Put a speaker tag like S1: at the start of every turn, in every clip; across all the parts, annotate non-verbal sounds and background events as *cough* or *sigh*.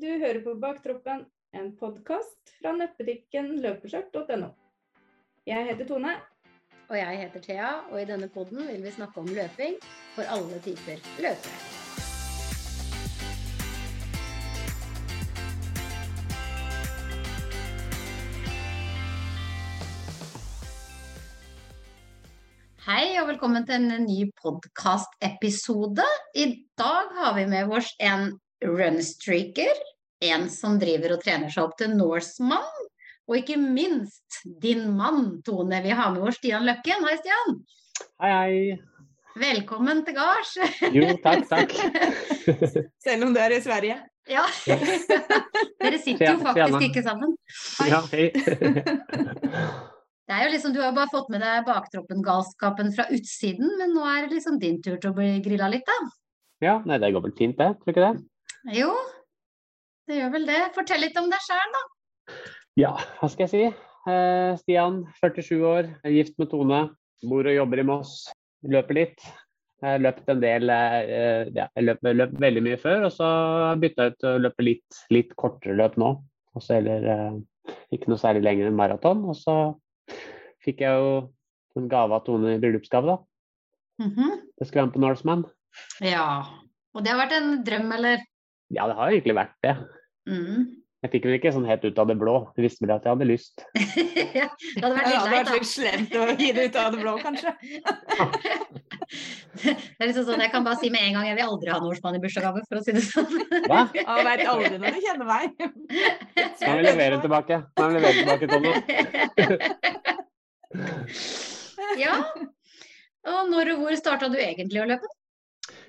S1: Du hører på Baktroppen, en podkast fra nettbutikken løpeskjørt.no. Jeg heter Tone.
S2: Og jeg heter Thea, og i denne podden vil vi snakke om løping for alle typer løpere. Hei og velkommen til en ny podkastepisode. I dag har vi med oss en runstreaker, en som driver og trener seg opp til Norseman, og ikke minst din mann, Tone. Vi har med oss Stian Løkken. Hei, Stian.
S3: Hei, hei.
S2: Velkommen til gards. *laughs*
S3: Jo, takk, takk.
S4: Selv om det er i Sverige.
S2: Ja. Dere sitter jo
S3: Tjena, tjena.
S2: faktisk ikke sammen.
S3: Ja, hei.
S2: Det er jo liksom, Du har jo bare fått med deg baktroppen-galskapen fra utsiden, men nå er det liksom din tur til å bli grilla litt, da.
S3: Ja, nei, det går vel fint, det. Tror du ikke det?
S2: Jo, det gjør vel det. Fortell litt om deg sjøl, da.
S3: Ja, hva skal jeg si? Eh, Stian, 47 år, er gift med Tone. Bor og jobber i Moss. Løper litt. Jeg har løpt en del eh, ja, Jeg løp, løp veldig mye før, og så har jeg bytta ut til å løpe litt, litt kortere løp nå. Og så heller eh, ikke noe særlig lenger enn maraton. Og så fikk jeg jo en gave av Tone i bryllupsgave, da.
S2: Mhm.
S3: Jeg skulle være med på Norseman.
S2: Ja. Og det har vært en drøm, eller?
S3: Ja, det har egentlig vært det.
S2: Mm.
S3: Jeg fikk vel ikke sånn helt ut av det blå. Jeg visste vel at jeg hadde lyst.
S2: det hadde
S4: Det
S2: vært
S4: hadde
S2: litt leit,
S4: vært
S2: da.
S4: litt slemt å gi det ut av det blå, kanskje.
S2: *laughs* Det er liksom sånn, Jeg kan bare si med en gang jeg vil aldri ha en årsmann i bursdagsgave, for å si det sånn.
S3: Hva?
S4: Ja, veit aldri når du kjenner meg.
S3: Nå må vi levere den tilbake. Nå må vi levere den tilbake, Tonje.
S2: *laughs* *laughs* ja. Og når og hvor starta du egentlig å løpe?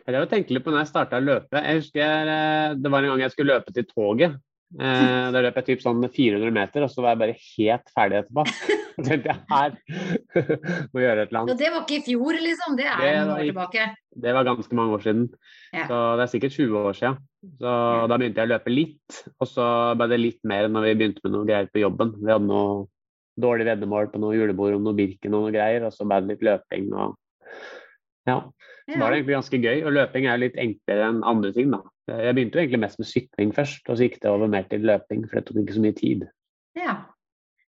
S3: Jeg drev og tenkte litt på når jeg starta å løpe. Jeg husker eh, det var en gang jeg skulle løpe til toget. Eh, Da løp jeg typ sånn 400 meter, og så var jeg bare helt ferdig etterpå. Så tenkte jeg her *laughs* må jeg gjøre et
S2: Og
S3: eller annet.
S2: det var ikke i fjor, liksom. Det er
S3: Det
S2: noen
S3: var
S2: år
S3: i-
S2: tilbake.
S3: Det var ganske mange år siden.
S2: Ja.
S3: Så det er sikkert 20 år siden. Så da begynte jeg å løpe litt, og så ble det litt mer når vi begynte med noe greier på jobben. Vi hadde noe dårlig veddemål på noe julebord om noe Birken og noe greier, og så ble det litt løping og Ja. Så var det egentlig ganske gøy. Og løping er jo litt enklere enn andre ting, da. Jeg begynte jo egentlig mest med sykling først, og så gikk det over mer til løping, for det tok ikke så mye tid.
S2: Ja.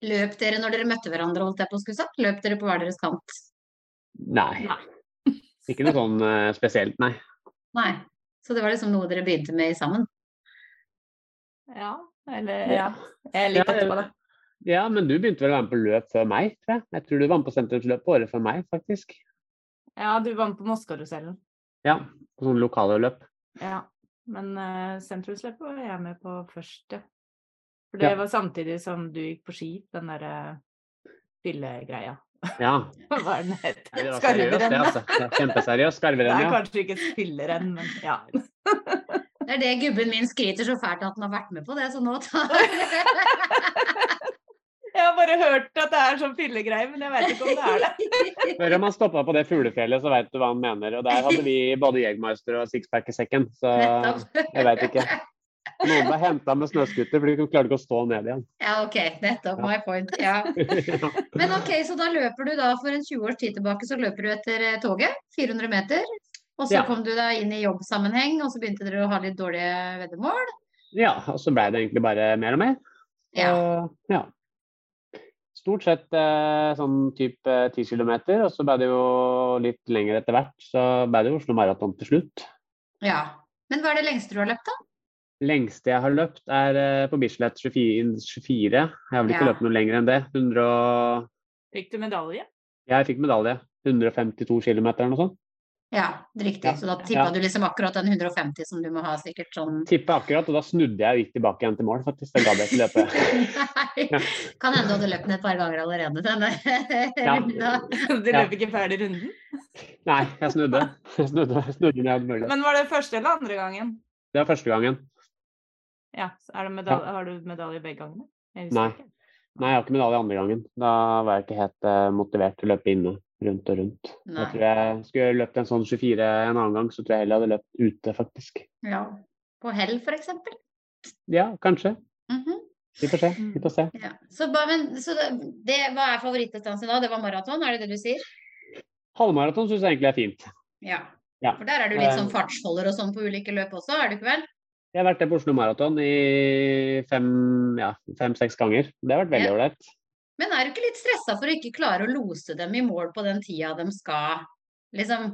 S2: Løp dere når dere møtte hverandre, holdt jeg på å skulle sagt? Løp dere på hver deres kant?
S3: Nei. Ikke noe sånn eh, spesielt, nei.
S2: Nei. Så det var liksom noe dere begynte med sammen?
S4: Ja, eller ja. Jeg er litt
S3: Ja,
S4: etterpå, da.
S3: Ja, men du begynte vel å være med på løp før meg, tror jeg. Jeg tror du var med på sentrumsløpet året før meg, faktisk.
S4: Ja, du var med på Mosskarusellen.
S3: Ja, på sånn sånne lokale løp.
S4: Ja. Men uh, sentrumsløpet var jeg med på først, ja. For
S3: Ja.
S4: det var samtidig som du gikk på ski, den derre fyllegreia.
S3: Ja.
S4: *laughs* Hva var den het?
S3: Det var seriøst, det,
S4: Skarverenn. da.
S3: altså. Ja, Kjempeseriøst.
S4: Det
S3: Skarverenn,
S4: er
S3: ja.
S4: kanskje ikke et spillerenn, men ja.
S2: Det er det gubben min skryter så fælt at han har vært med på det, så nå
S4: *laughs*
S2: tar
S4: Jeg har bare hørt at det er sånn fyllegreie, men jeg veit ikke om det er det.
S3: Hør
S2: *laughs*
S3: om han stoppa på det fuglefjellet, så veit du hva han mener. Og der hadde vi både Jegermeister og sixpack i sekken, så
S2: Nettopp.
S3: jeg veit ikke. Noen ble henta med snøskuter fordi de klarte ikke å stå ned igjen. *laughs*
S2: Ja, OK. Nettopp. My point. Ja.
S3: Ja.
S2: Men ok, så da løper du da for en 20 års tid tilbake, så løper du etter eh, toget, 400 meter. Og så
S3: Ja.
S2: kom du deg inn i jobbsammenheng, og så begynte dere å ha litt dårlige veddemål.
S3: Ja, og så blei det egentlig bare mer og mer.
S2: Ja.
S3: Og, ja. Stort sett eh, sånn type 10 km, og så blei det jo litt lenger etter hvert. Så blei det jo Oslo Maraton til slutt.
S2: ja. Men hva er det lengste du har løpt, da?
S3: Lengste jeg har løpt, er eh, på Bislett 24. 24. Jeg har vel ikke
S2: Ja.
S3: løpt noe lenger enn det. 100 og...
S4: Fikk du medalje? *laughs*
S3: Jeg fikk medalje. 152 km eller noe sånt.
S2: Ja, riktig.
S3: Ja.
S2: Så da tippa
S3: Ja.
S2: du liksom akkurat den 150 som du må ha sikkert sånn
S3: Tippa akkurat, og da snudde jeg og gikk tilbake igjen til mål, faktisk. Da gadd jeg ikke
S2: *laughs*
S3: løpe.
S2: Nei.
S3: Ja.
S2: Kan hende du hadde løpt den et par ganger allerede, denne
S3: Ja.
S2: runden.
S4: Du
S3: Ja.
S4: løp ikke ferdig runden?
S3: Nei, jeg snudde. Jeg snudde, snudde når jeg hadde mulighet.
S4: Men var det første eller andre gangen?
S3: Det var første gangen.
S4: Ja, så er det medal Har du medalje begge gangene? Jeg husker
S3: Nei.
S4: ikke.
S3: Nei, jeg har ikke medalje andre gangen. Da var jeg ikke helt eh, motivert til å løpe inne rundt og rundt.
S2: Nei.
S3: Jeg tror jeg skulle jeg løpt en sånn 24 en annen gang, så tror jeg heller jeg hadde løpt ute, faktisk.
S2: Ja. På hell, for eksempel.
S3: Ja, kanskje.
S2: Mhm.
S3: Vi får se. Vi får se.
S2: Ja. Så, ba- men, så det, det, hva er favorittdistansen da? Det var maraton, er det det du sier?
S3: Halvmaraton syns jeg egentlig er fint.
S2: Ja.
S3: Ja. Um,
S2: For der er du litt sånn fartsholder og sånn på ulike løp også, er du ikke vel?
S3: Jeg har vært der på Oslo Maraton i fem-seks ja, fem, seks ganger. Det har vært veldig
S2: Ja.
S3: ålreit.
S2: Men er du ikke litt stressa for å ikke klare å lose dem i mål på den tida de skal? Liksom,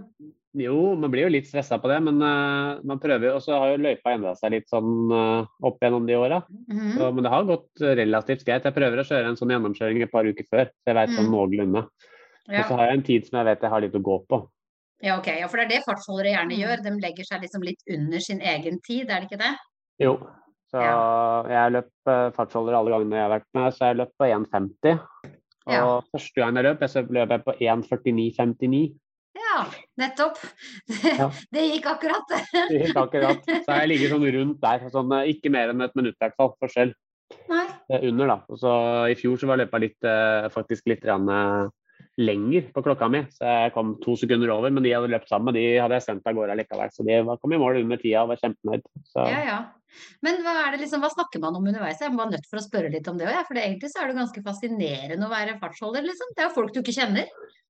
S3: Jo, man blir jo litt stressa på det, men eh, man prøver. Og så har jo løypa endra seg litt sånn eh, opp gjennom de åra.
S2: mhm.
S3: Så- Men det har gått relativt greit. Jeg prøver å kjøre en sånn gjennomkjøring et par uker før, så jeg veit sånn
S2: Mm.
S3: noenlunde. Og så
S2: ja.
S3: har jeg en tid som jeg vet jeg har litt å gå på.
S2: ja, ok. Ja, for det er det fartsholdere gjerne
S4: Mm.
S2: gjør. De legger seg liksom litt under sin egen tid, er det ikke det?
S3: Jo. Så jeg løp eh, fartsholder alle gangene jeg har vært med, så jeg løp på 1,50. Og
S2: Ja.
S3: første gang jeg løp, jeg så løp jeg på 1,49,59.
S2: *laughs* Ja, nettopp. *laughs* Det,
S3: Ja.
S2: det gikk akkurat, det.
S3: Helt akkurat. Så jeg ligger sånn rundt der. Sånn, eh, ikke mer enn et minutt i hvert fall, forskjell.
S2: Nei.
S3: eh, under, da. Og så I fjor så var løpa litt, eh, faktisk litt grann, eh, lenger på klokka mi, så jeg kom to sekunder over. Men de jeg hadde løpt sammen med, de hadde jeg sendt av gårde likevel. Så de var- kom i mål under tida og var kjempenøyd. Så
S2: Ja, ja. Men hva, er det liksom, hva snakker man om underveis? Jeg var nødt for å spørre litt om det òg, for det, egentlig så er det ganske fascinerende å være fartsholder, liksom. Det er jo folk du ikke kjenner.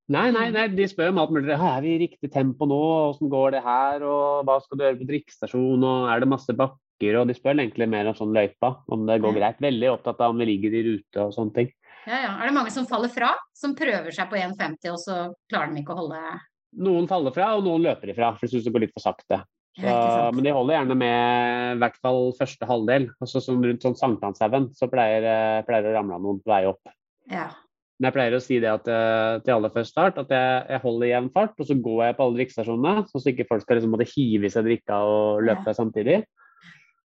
S3: Nei, nei, nei, de spør om alt mulig. «Hæ, Er vi i riktig tempo nå? Åssen går det her? Og hva skal du gjøre på drikkestasjonen? Og er det masse bakker? Og de spør egentlig mer om sånn løypa, om det går
S2: Ja.
S3: greit. Veldig opptatt av om vi ligger i rute og sånne ting.
S2: Ja, ja. Er det mange som faller fra? Som prøver seg på 1,50, og så klarer de ikke å holde
S3: Noen faller fra, og noen løper ifra, for de syns det går litt for sakte.
S2: Ja, ikke
S3: Så,
S2: sant?
S3: men de holder gjerne med i hvert fall første halvdel. Og så som rundt sånn sankthanshaugen så pleier, eh, pleier det å ramle av noen på vei opp.
S2: Ja.
S3: Men jeg pleier å si det at, eh, til alle før start at jeg, jeg holder jevn fart, og så går jeg på alle drikkestasjonene, sånn at ikke folk skal liksom måtte hive i seg drikka og løpe samtidig.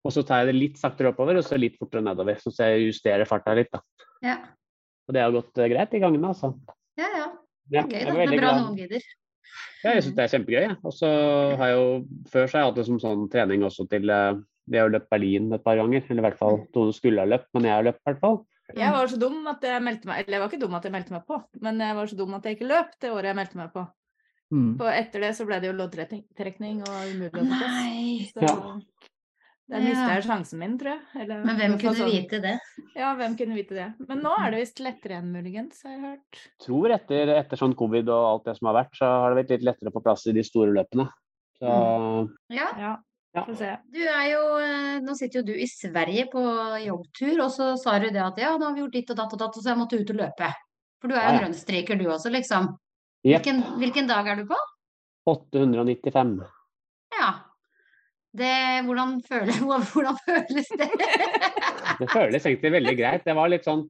S3: Og så tar jeg det litt saktere oppover, og så litt fortere nedover. sånn Så jeg justerer farta litt, da.
S2: Ja.
S3: Og det har gått eh, greit de gangene, altså.
S2: ja, ja. Det
S3: Ja,
S2: er gøy,
S3: jeg
S2: da.
S3: var
S2: Det
S3: veldig
S2: er bra
S3: glad.
S2: noen gidder.
S3: Ja, jeg syns det er kjempegøy. jeg. Og så har jeg jo før så har jeg hatt det som sånn trening også til eh, Vi har jo løpt Berlin et par ganger, eller i
S2: Mm.
S3: hvert fall Tone skulle ha løpt, men jeg har løpt i hvert fall.
S4: Jeg var så dum at jeg meldte meg Eller jeg var ikke dum at jeg meldte meg på, men jeg var så dum at jeg ikke løp det året jeg meldte meg på. For etter det så ble det jo loddtrekning og umulig å få plass.
S2: Nei.
S4: Så
S3: Ja.
S4: der mista
S2: Ja.
S4: jeg sjansen min, tror jeg. Eller,
S2: Men
S4: i
S2: hvem
S4: hvert fall
S2: kunne
S4: sånn-
S2: vite det?
S4: Ja, hvem kunne vite det. Men nå er det visst lettere enn muligens, har jeg hørt.
S3: Tror etter, etter sånn covid og alt det som har vært, så har det vært litt lettere å få plass i de store løpene. Så
S4: Mm.
S2: Ja.
S4: Ja,
S3: Ja.
S4: få se.
S2: Du er jo, eh, nå sitter jo du i Sverige på jobbtur, og så sa du det at ja, nå har vi gjort ditt og datt og datt, og så jeg måtte ut og løpe. For du er jo
S3: Ja,
S2: en
S3: ja.
S2: rønnstreker du også, liksom.
S3: Jepp.
S2: Hvilken, hvilken dag er du på?
S3: 895.
S2: Ja. Det, hvordan, føler, *laughs* hvordan føles det?
S3: Det føles egentlig veldig greit. Det var litt sånn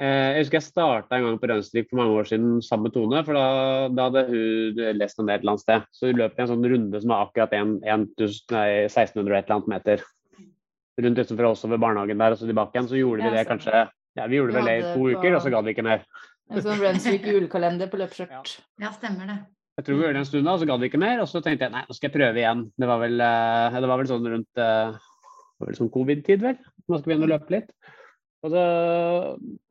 S3: eh, Jeg husker jeg starta en gang på Rønstrik for mange år siden sammen med Tone. For da, da hadde hun lest om det et eller annet sted. Så hun løp i en sånn runde som var akkurat en- en tusen- nei, 1600 og et eller annet meter. Rundt utenfor oss over barnehagen der og så tilbake igjen. Så gjorde vi
S4: Ja,
S3: det
S4: stemmer.
S3: kanskje ja, Vi gjorde
S4: Vi
S3: vel det
S4: hadde
S3: i to
S4: på-
S3: uker, og så gadd vi ikke mer.
S4: En sånn Runstreak julekalender på løpeskjørt.
S2: Ja, stemmer det.
S3: Jeg tror vi gjorde det en stund, da, og så gadd vi ikke mer. Og så tenkte jeg nei, nå skal jeg prøve igjen. Det var vel, eh, det var vel sånn rundt eh, det var vel sånn covid-tid, vel. Man skal begynne å løpe litt. Og så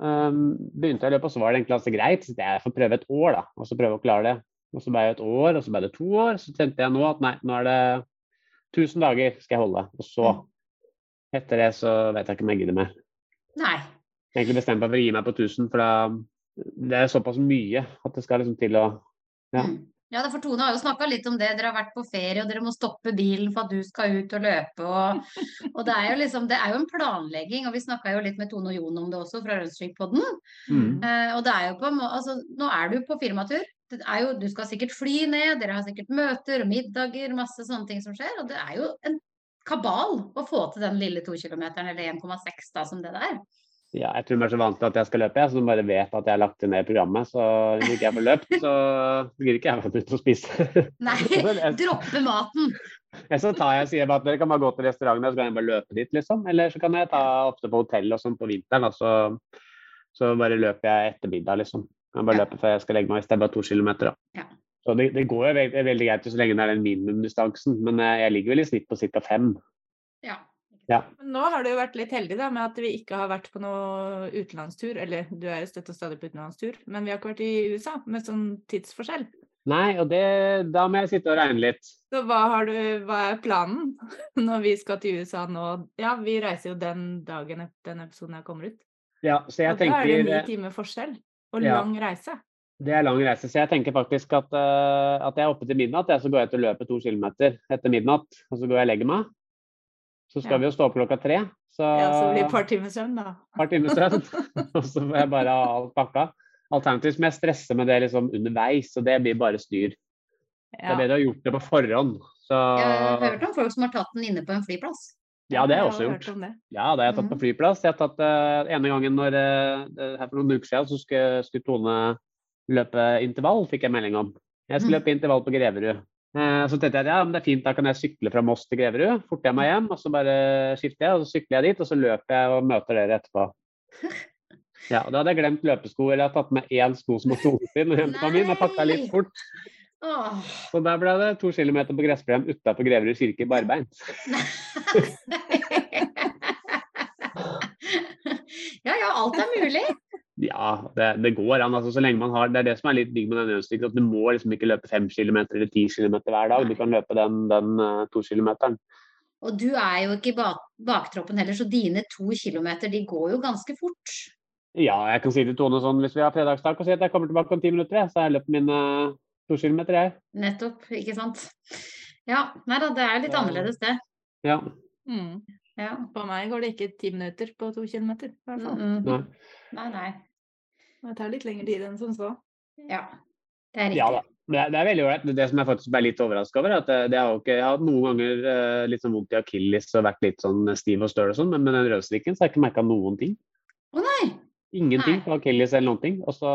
S3: ehm, begynte jeg å løpe, og så var det egentlig ganske greit. Så tenkte jeg jeg får prøve et år, da. Og så prøve å klare det. Og så ble det et år, og så ble det to år. Så tenkte jeg nå at nei, nå er det 1000 dager skal jeg holde. Og så, etter det, så vet jeg ikke om jeg gidder mer
S2: Nei.
S3: egentlig bestemt meg for å gi meg på 1000, for da, det er såpass mye at det skal liksom til å Ja.
S2: Mm. Ja, da, for Tone har jo snakka litt om det. Dere har vært på ferie, og dere må stoppe bilen for at du skal ut og løpe. Og, og det, er jo liksom, det er jo en planlegging, og vi snakka jo litt med Tone og Jon om det også fra Runstreak-podden.
S3: Mm.
S2: Eh, og det er jo på en må- altså, nå er du på firmatur. Det er jo, du skal sikkert fly ned, dere har sikkert møter og middager, masse sånne ting som skjer. Og det er jo en kabal å få til den lille to kilometeren, eller 1,6 da, som det der.
S3: Ja, jeg tror de er så vant til at jeg skal løpe, jeg, så de bare vet at jeg har lagt det ned i programmet. Så hvis ikke jeg får løpt, så gidder ikke jeg å være ute og spise. *laughs*
S2: Nei,
S3: Eller
S2: droppe maten.
S3: så tar jeg og sier bare at dere kan bare gå til restauranten, og så kan jeg bare løpe dit, liksom. Eller så kan jeg ta ofte på hotell og sånn på vinteren, da, så, så bare løper jeg etter middag, liksom. Jeg bare
S2: Ja.
S3: løper før jeg skal legge meg, hvis det er bare to kilometer, da.
S2: Ja.
S3: Så det, det går jo veldig, veldig greit så lenge det er den minimumdistansen, men eh, jeg ligger vel i snitt på ca. fem.
S2: Ja.
S4: Men nå har du jo vært litt heldig da, med at vi ikke har vært på noe utenlandstur. Eller du er jo støtt og stadig på utenlandstur, men vi har ikke vært i USA med sånn tidsforskjell.
S3: Nei, og det, da må jeg sitte og regne litt.
S4: Så hva, har du, hva er planen *laughs* når vi skal til USA nå? Ja, vi reiser jo den dagen ep- den episoden her kommer ut.
S3: Ja, så jeg
S4: og da er det jo ni
S3: tenker eh,
S4: timer forskjell og
S3: Ja.
S4: lang reise.
S3: Det er lang reise, så jeg tenker faktisk at, eh, at jeg er oppe til midnatt. Jeg, så går jeg ut og løper to kilometer etter midnatt, og så går jeg og legger meg. Så skal vi jo stå opp klokka tre. Så,
S4: Ja, så det blir et par timer søvn, da.
S3: par timer søvn.
S4: *laughs*
S3: Og så får jeg bare ha alt pakka. Alternativt må jeg stresse med det liksom underveis, og det blir bare styr. Det
S4: Ja.
S3: er bedre å ha gjort det på forhånd. Så
S2: Eh, Jeg har hørt om folk som har tatt den inne på en flyplass.
S3: ja, det har
S4: har
S3: jeg også gjort.
S4: Hørt om det.
S3: Ja, det har jeg tatt
S2: Mhm.
S3: på flyplass. Jeg har tatt eh, ene gangen når, eh, her for noen uker siden så skulle, skulle Tone løpe intervall, fikk jeg melding om. Jeg skulle
S2: Mhm.
S3: løpe intervall på Greverud. Eh, så tenkte jeg ja, men det er fint, da kan jeg sykle fra Moss til Greverud. Forter jeg meg
S2: Mhm.
S3: hjem, og så bare skifter jeg, og så sykler jeg dit, og så løper jeg og møter dere etterpå.
S2: *laughs*
S3: Ja, Da hadde jeg glemt løpesko, eller jeg hadde tatt med én sko som var tonet inn og henta min. Jeg pakka litt
S2: Nei.
S3: fort,
S2: Åh, *laughs*
S3: så der ble det to kilometer på gressplen utafor Greverud kirke barbeint.
S2: ja, ja, alt er mulig.
S3: Ja, det, det går an. altså så lenge man har, Det er det som er litt digg med den øvelsen. at Du må liksom ikke løpe 5 km eller 10 km hver dag. Du kan løpe den, den eh, to kilometeren.
S2: Og du er jo ikke i bak baktroppen heller, så dine to kilometer de går jo ganske fort.
S3: Ja, jeg kan si til Tone sånn hvis vi har fredagstak og si at jeg kommer tilbake om 10 minutter, jeg, så har jeg løpt mine eh, to kilometer, jeg.
S2: Nettopp, ikke sant. Ja, nei da, det er litt
S3: Ja.
S2: annerledes det.
S3: Ja.
S4: Mm.
S2: Ja.
S4: På meg går det ikke ti minutter på to kilometer. i hvert fall.
S2: Mm,
S3: Nei.
S2: mm. Nei, nei.
S4: Det tar litt lengre tid enn som så.
S2: Ja, det er riktig.
S3: Ja da. Det er, det er veldig ålreit. Det som jeg faktisk ble litt overraska over, er at det, det har jo ikke, jeg har hatt noen ganger eh, litt sånn vondt i akilles og vært litt sånn stiv og støl og sånn, men med den rødstrikken så har jeg ikke merka noen ting.
S2: Å nei!
S3: Ingenting
S2: Nei.
S3: på akilles eller noen ting. Og så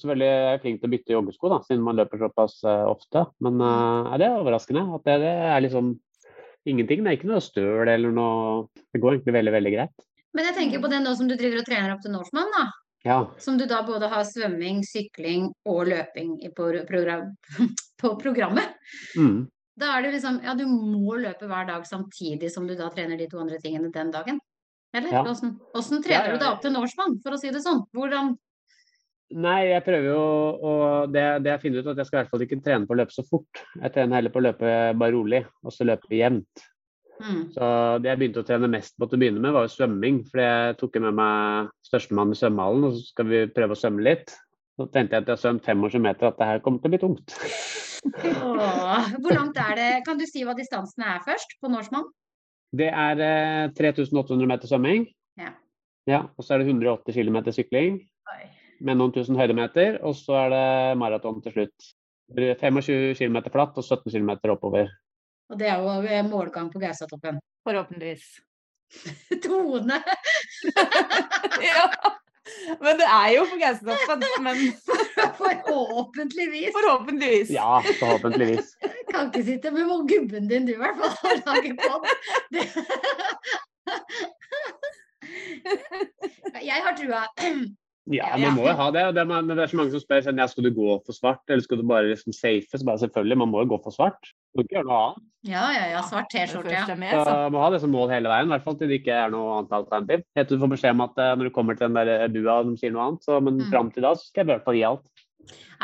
S3: selvfølgelig er jeg flink til å bytte joggesko, da, siden man løper såpass eh, ofte. Men eh, ja, det er overraskende at det, det er liksom ingenting. Det er ikke noe støl eller noe Det går egentlig veldig, veldig greit.
S2: Men jeg
S3: Mm.
S2: tenker på det nå som du driver og trener opp til Norseman, da.
S3: Ja.
S2: Som du da både har svømming, sykling og løping i på, program, *laughs* på programmet.
S3: Mm.
S2: Da er det liksom Ja, du må løpe hver dag samtidig som du da trener de to andre tingene den dagen. Eller
S3: Ja.
S2: åssen åssen
S3: Ja,
S2: trener
S3: ja,
S2: du deg
S3: ja.
S2: opp til Norseman, for å si det sånn? Hvordan
S3: Nei, jeg prøver jo å det, det jeg finner ut, er at jeg skal i hvert fall ikke trene på å løpe så fort. Jeg trener heller på å løpe bare rolig, og så løpe jevnt. *laughs*
S2: mm,
S3: Så det jeg begynte å trene mest på til å begynne med, var jo svømming. For jeg tok jo med meg størstemann i svømmehallen, og så skal vi prøve å svømme litt. Så tenkte jeg at jeg har svømt 25 meter, at det her kommer til å bli tungt. *laughs*
S2: Åh, Hvor langt er det? Kan du si hva distansene er først på Norseman?
S3: Det er eh, 3800 meter svømming.
S2: Ja.
S3: Ja, og så er det 180 km sykling
S2: Oi.
S3: med noen tusen høydemeter. Og så er det maraton til slutt. Det blir 25 km flatt og 17 km oppover.
S2: Og det er jo eh, målgang på Gaustatoppen.
S4: Forhåpentligvis.
S2: *laughs* Tone!
S4: *laughs*
S2: *laughs*
S4: ja. Men det er jo på Gaustatoppen. Men *laughs*
S2: Forhåpentligvis!
S4: forhåpentligvis.
S3: Ja, forhåpentligvis.
S2: Kan ikke sitte med hvor gubben din du i hvert fall og lage pod. Det... Jeg har trua.
S3: Ja,
S4: Ja.
S3: man må jo ha det. og det er, man- det er så mange som spør sånn, ja, skal du gå for svart, eller skal du bare liksom safe? Så bare selvfølgelig, man må jo gå for svart. Du kan ikke gjøre noe annet.
S2: Ja, ja, ja. Svart
S4: Når
S2: T-skjorte,
S4: det først
S2: ja.
S4: er med, så.
S3: Så må ha det som mål hele veien, i hvert fall til det ikke er noe annet alternativ. Helt til du får beskjed om at eh, når du kommer til den der bua som sier noe annet, så, men
S2: Mm.
S3: fram til da så skal jeg i hvert fall gi alt.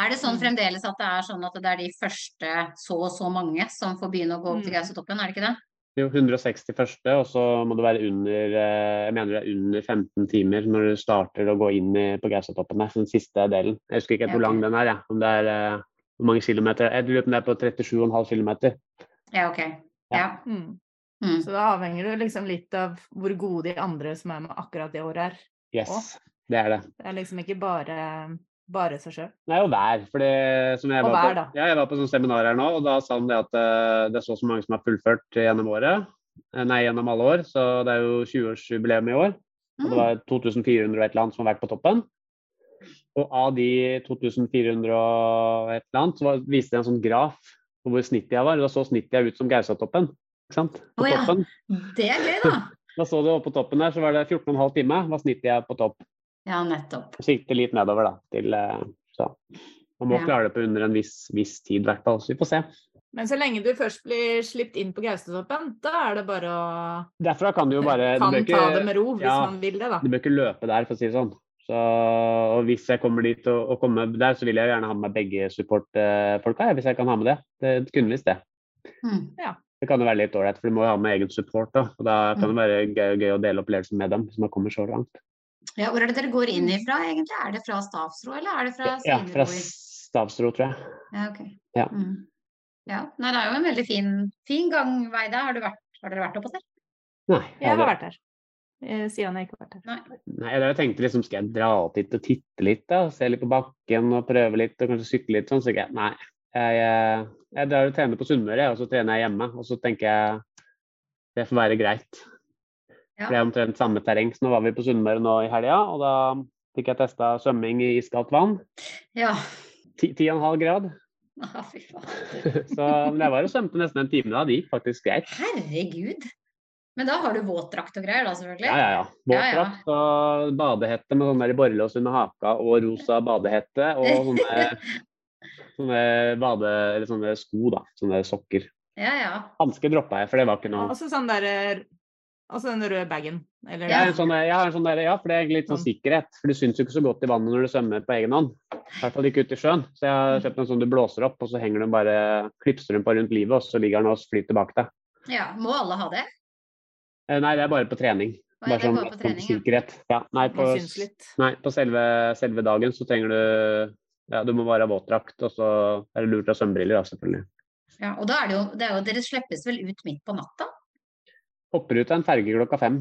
S2: Er det sånn
S4: Mm.
S2: fremdeles at det er sånn at det er de første så og så mange som får begynne å gå opp til
S4: Mm.
S2: Gaustatoppen, er det ikke det?
S3: Det er jo 160 første, og så må det være under eh, jeg mener det er under 15 timer når du starter å gå inn i, på Gaustatoppen. der, så Den siste delen. Jeg husker ikke helt hvor
S2: Ja, ok.
S3: lang den er. jeg. Om det er eh, hvor mange kilometer. Jeg lurer på om det er på 37,5 km.
S2: Ja, ok. Ja.
S4: Mm.
S2: Mm.
S4: Så da avhenger det liksom litt av hvor gode de andre som er med akkurat det året, er.
S3: Yes, det er det.
S4: Det er liksom ikke bare, bare seg sjøl.
S3: Det er jo vær. Fordi, som jeg,
S4: Og
S3: var
S4: vær, da.
S3: på, ja, jeg var på sånn seminar her nå, og da sa han det at eh, det er så og så mange som har fullført gjennom året. Eh, Nei, gjennom alle år. Så det er jo 20-årsjubileum i år. Og det
S2: Mm.
S3: var 2400 og et eller annet som har vært på toppen. Og av de 2400 og et eller annet, så var, viste det en sånn graf på hvor snittet jeg var. Da så snittet jeg ut som Gausatoppen. Ikke sant? På
S2: Å ja.
S3: toppen.
S2: Det er gøy, da.
S3: Da så du oppe på toppen der, så var det 14,5 time var snittet jeg på topp.
S2: Ja, nettopp.
S3: Så gikk det litt nedover, da. Til, eh, så. Man må
S2: Ja.
S3: klare det på under en viss, viss tid, i hvert fall. Så vi får se.
S4: Men så lenge du først blir sluppet inn på Gaustatoppen, da er det bare å
S3: Derfra kan du jo bare du
S4: kan
S3: bør Eh, ikke-
S4: ta det med ro hvis
S3: ja.
S4: man vil det, da.
S3: Du bør ikke løpe der, for å si det sånn. Så, og hvis jeg kommer dit og, og kommer der, så vil jeg gjerne ha med begge supportfolka, jeg, hvis jeg kan ha med det. Det kunne visst det.
S2: Mm.
S3: Det kan jo være litt ålreit, for du må jo ha med egen support da. Og da
S4: Mm.
S3: kan det være gøy, gøy å dele opplevelsen med dem, hvis man kommer så langt.
S2: Ja, hvor er det dere går inn ifra, egentlig? Er det fra Stavsro, eller er det fra
S3: Ja, fra
S2: Sideror?
S3: Stavsro, tror jeg.
S2: Ja, ok.
S3: Ja.
S2: Mm. ja. Nei, det er jo en veldig fin, fin gangvei der. Har, du vært, har dere vært oppå der?
S3: Nei.
S4: Jeg har vært der. Eh, Siden jeg ikke har vært der.
S3: Nei, det var jeg tenkte liksom, skal jeg dra opp dit og titte litt, da? Se litt på bakken og prøve litt, og kanskje sykle litt sånn? Så tenker jeg, nei. Jeg, eh, jeg drar og trener på Sunnmøre, og så trener jeg hjemme. Og så tenker jeg, det får være greit.
S2: Ja.
S3: For det er omtrent samme terreng. Så nå var vi på Sunnmøre nå i helga, og da fikk jeg testa svømming i iskaldt vann.
S2: Ja.
S3: Ti- 10,5 grad.
S2: *laughs* Å, fy faen.
S3: Så men jeg var og svømte nesten en time da. Det gikk faktisk greit.
S2: Herregud. Men da har du våtdrakt og greier, da, selvfølgelig.
S3: Ja, ja, ja.
S2: Ja, ja.
S3: Våtdrakt og badehette med sånn der borrelås under haka og rosa badehette *laughs* og sånne, sånne bade... Eller sånne sko, da. Sånne sokker.
S2: Ja, ja.
S3: Hansker droppa jeg, for det var ikke noe
S4: Altså sånn der eh, Altså den røde bagen. Eller
S3: jeg
S2: Ja.
S3: har en sånn, jeg har en sånn der, ja, for det er litt sånn sikkerhet. For du syns jo ikke så godt i vannet når du svømmer på egen hånd. I hvert fall ikke ute i sjøen. Så jeg har kjøpt en sånn du blåser opp, og så henger den bare klipser den på rundt livet, og så ligger den og flyter bak deg.
S2: ja. Må alle ha det?
S3: Eh, Nei, det er bare på trening.
S2: Å,
S3: Bare
S2: jeg
S3: sånn
S2: går på trening, ja.
S3: sikkerhet. Ja, nei, på,
S4: Man syns litt.
S3: Nei, på selve, selve dagen så trenger du ja, Du må bare ha våtdrakt, og så er det lurt å ha svømmebriller, da, selvfølgelig.
S2: ja. Og da er det jo, det er jo Dere slippes vel ut midt på natta?
S3: Hopper ut av en ferge klokka fem.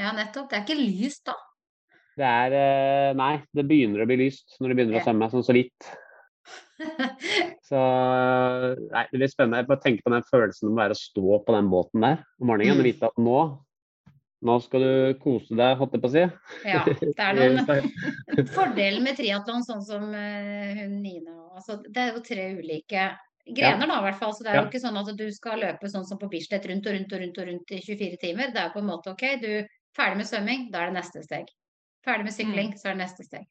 S2: Ja, nettopp. Det er ikke lys da. *laughs*
S3: Det er eh, Nei, det begynner å bli lyst når du begynner
S2: Ja.
S3: å svømme, sånn så vidt. Så Nei, det blir spennende. Jeg bare tenker på den følelsen det må være å stå på den båten der om morgenen og
S2: Mm.
S3: vite at nå nå skal du kose deg, holdt jeg på å si.
S2: Ja, det er
S3: *laughs*
S2: noen Fordelen med triatlon, sånn som eh, hun Nina altså, Det er jo tre ulike grener, da, i hvert fall. Så det er jo
S3: Ja.
S2: ikke sånn at du skal løpe sånn som på Bislett rundt og rundt og rundt og rundt i 24 timer. Det er jo på en måte OK, du ferdig med svømming, da er det neste steg. Ferdig
S3: Mm.
S2: med sykling, så er det neste steg.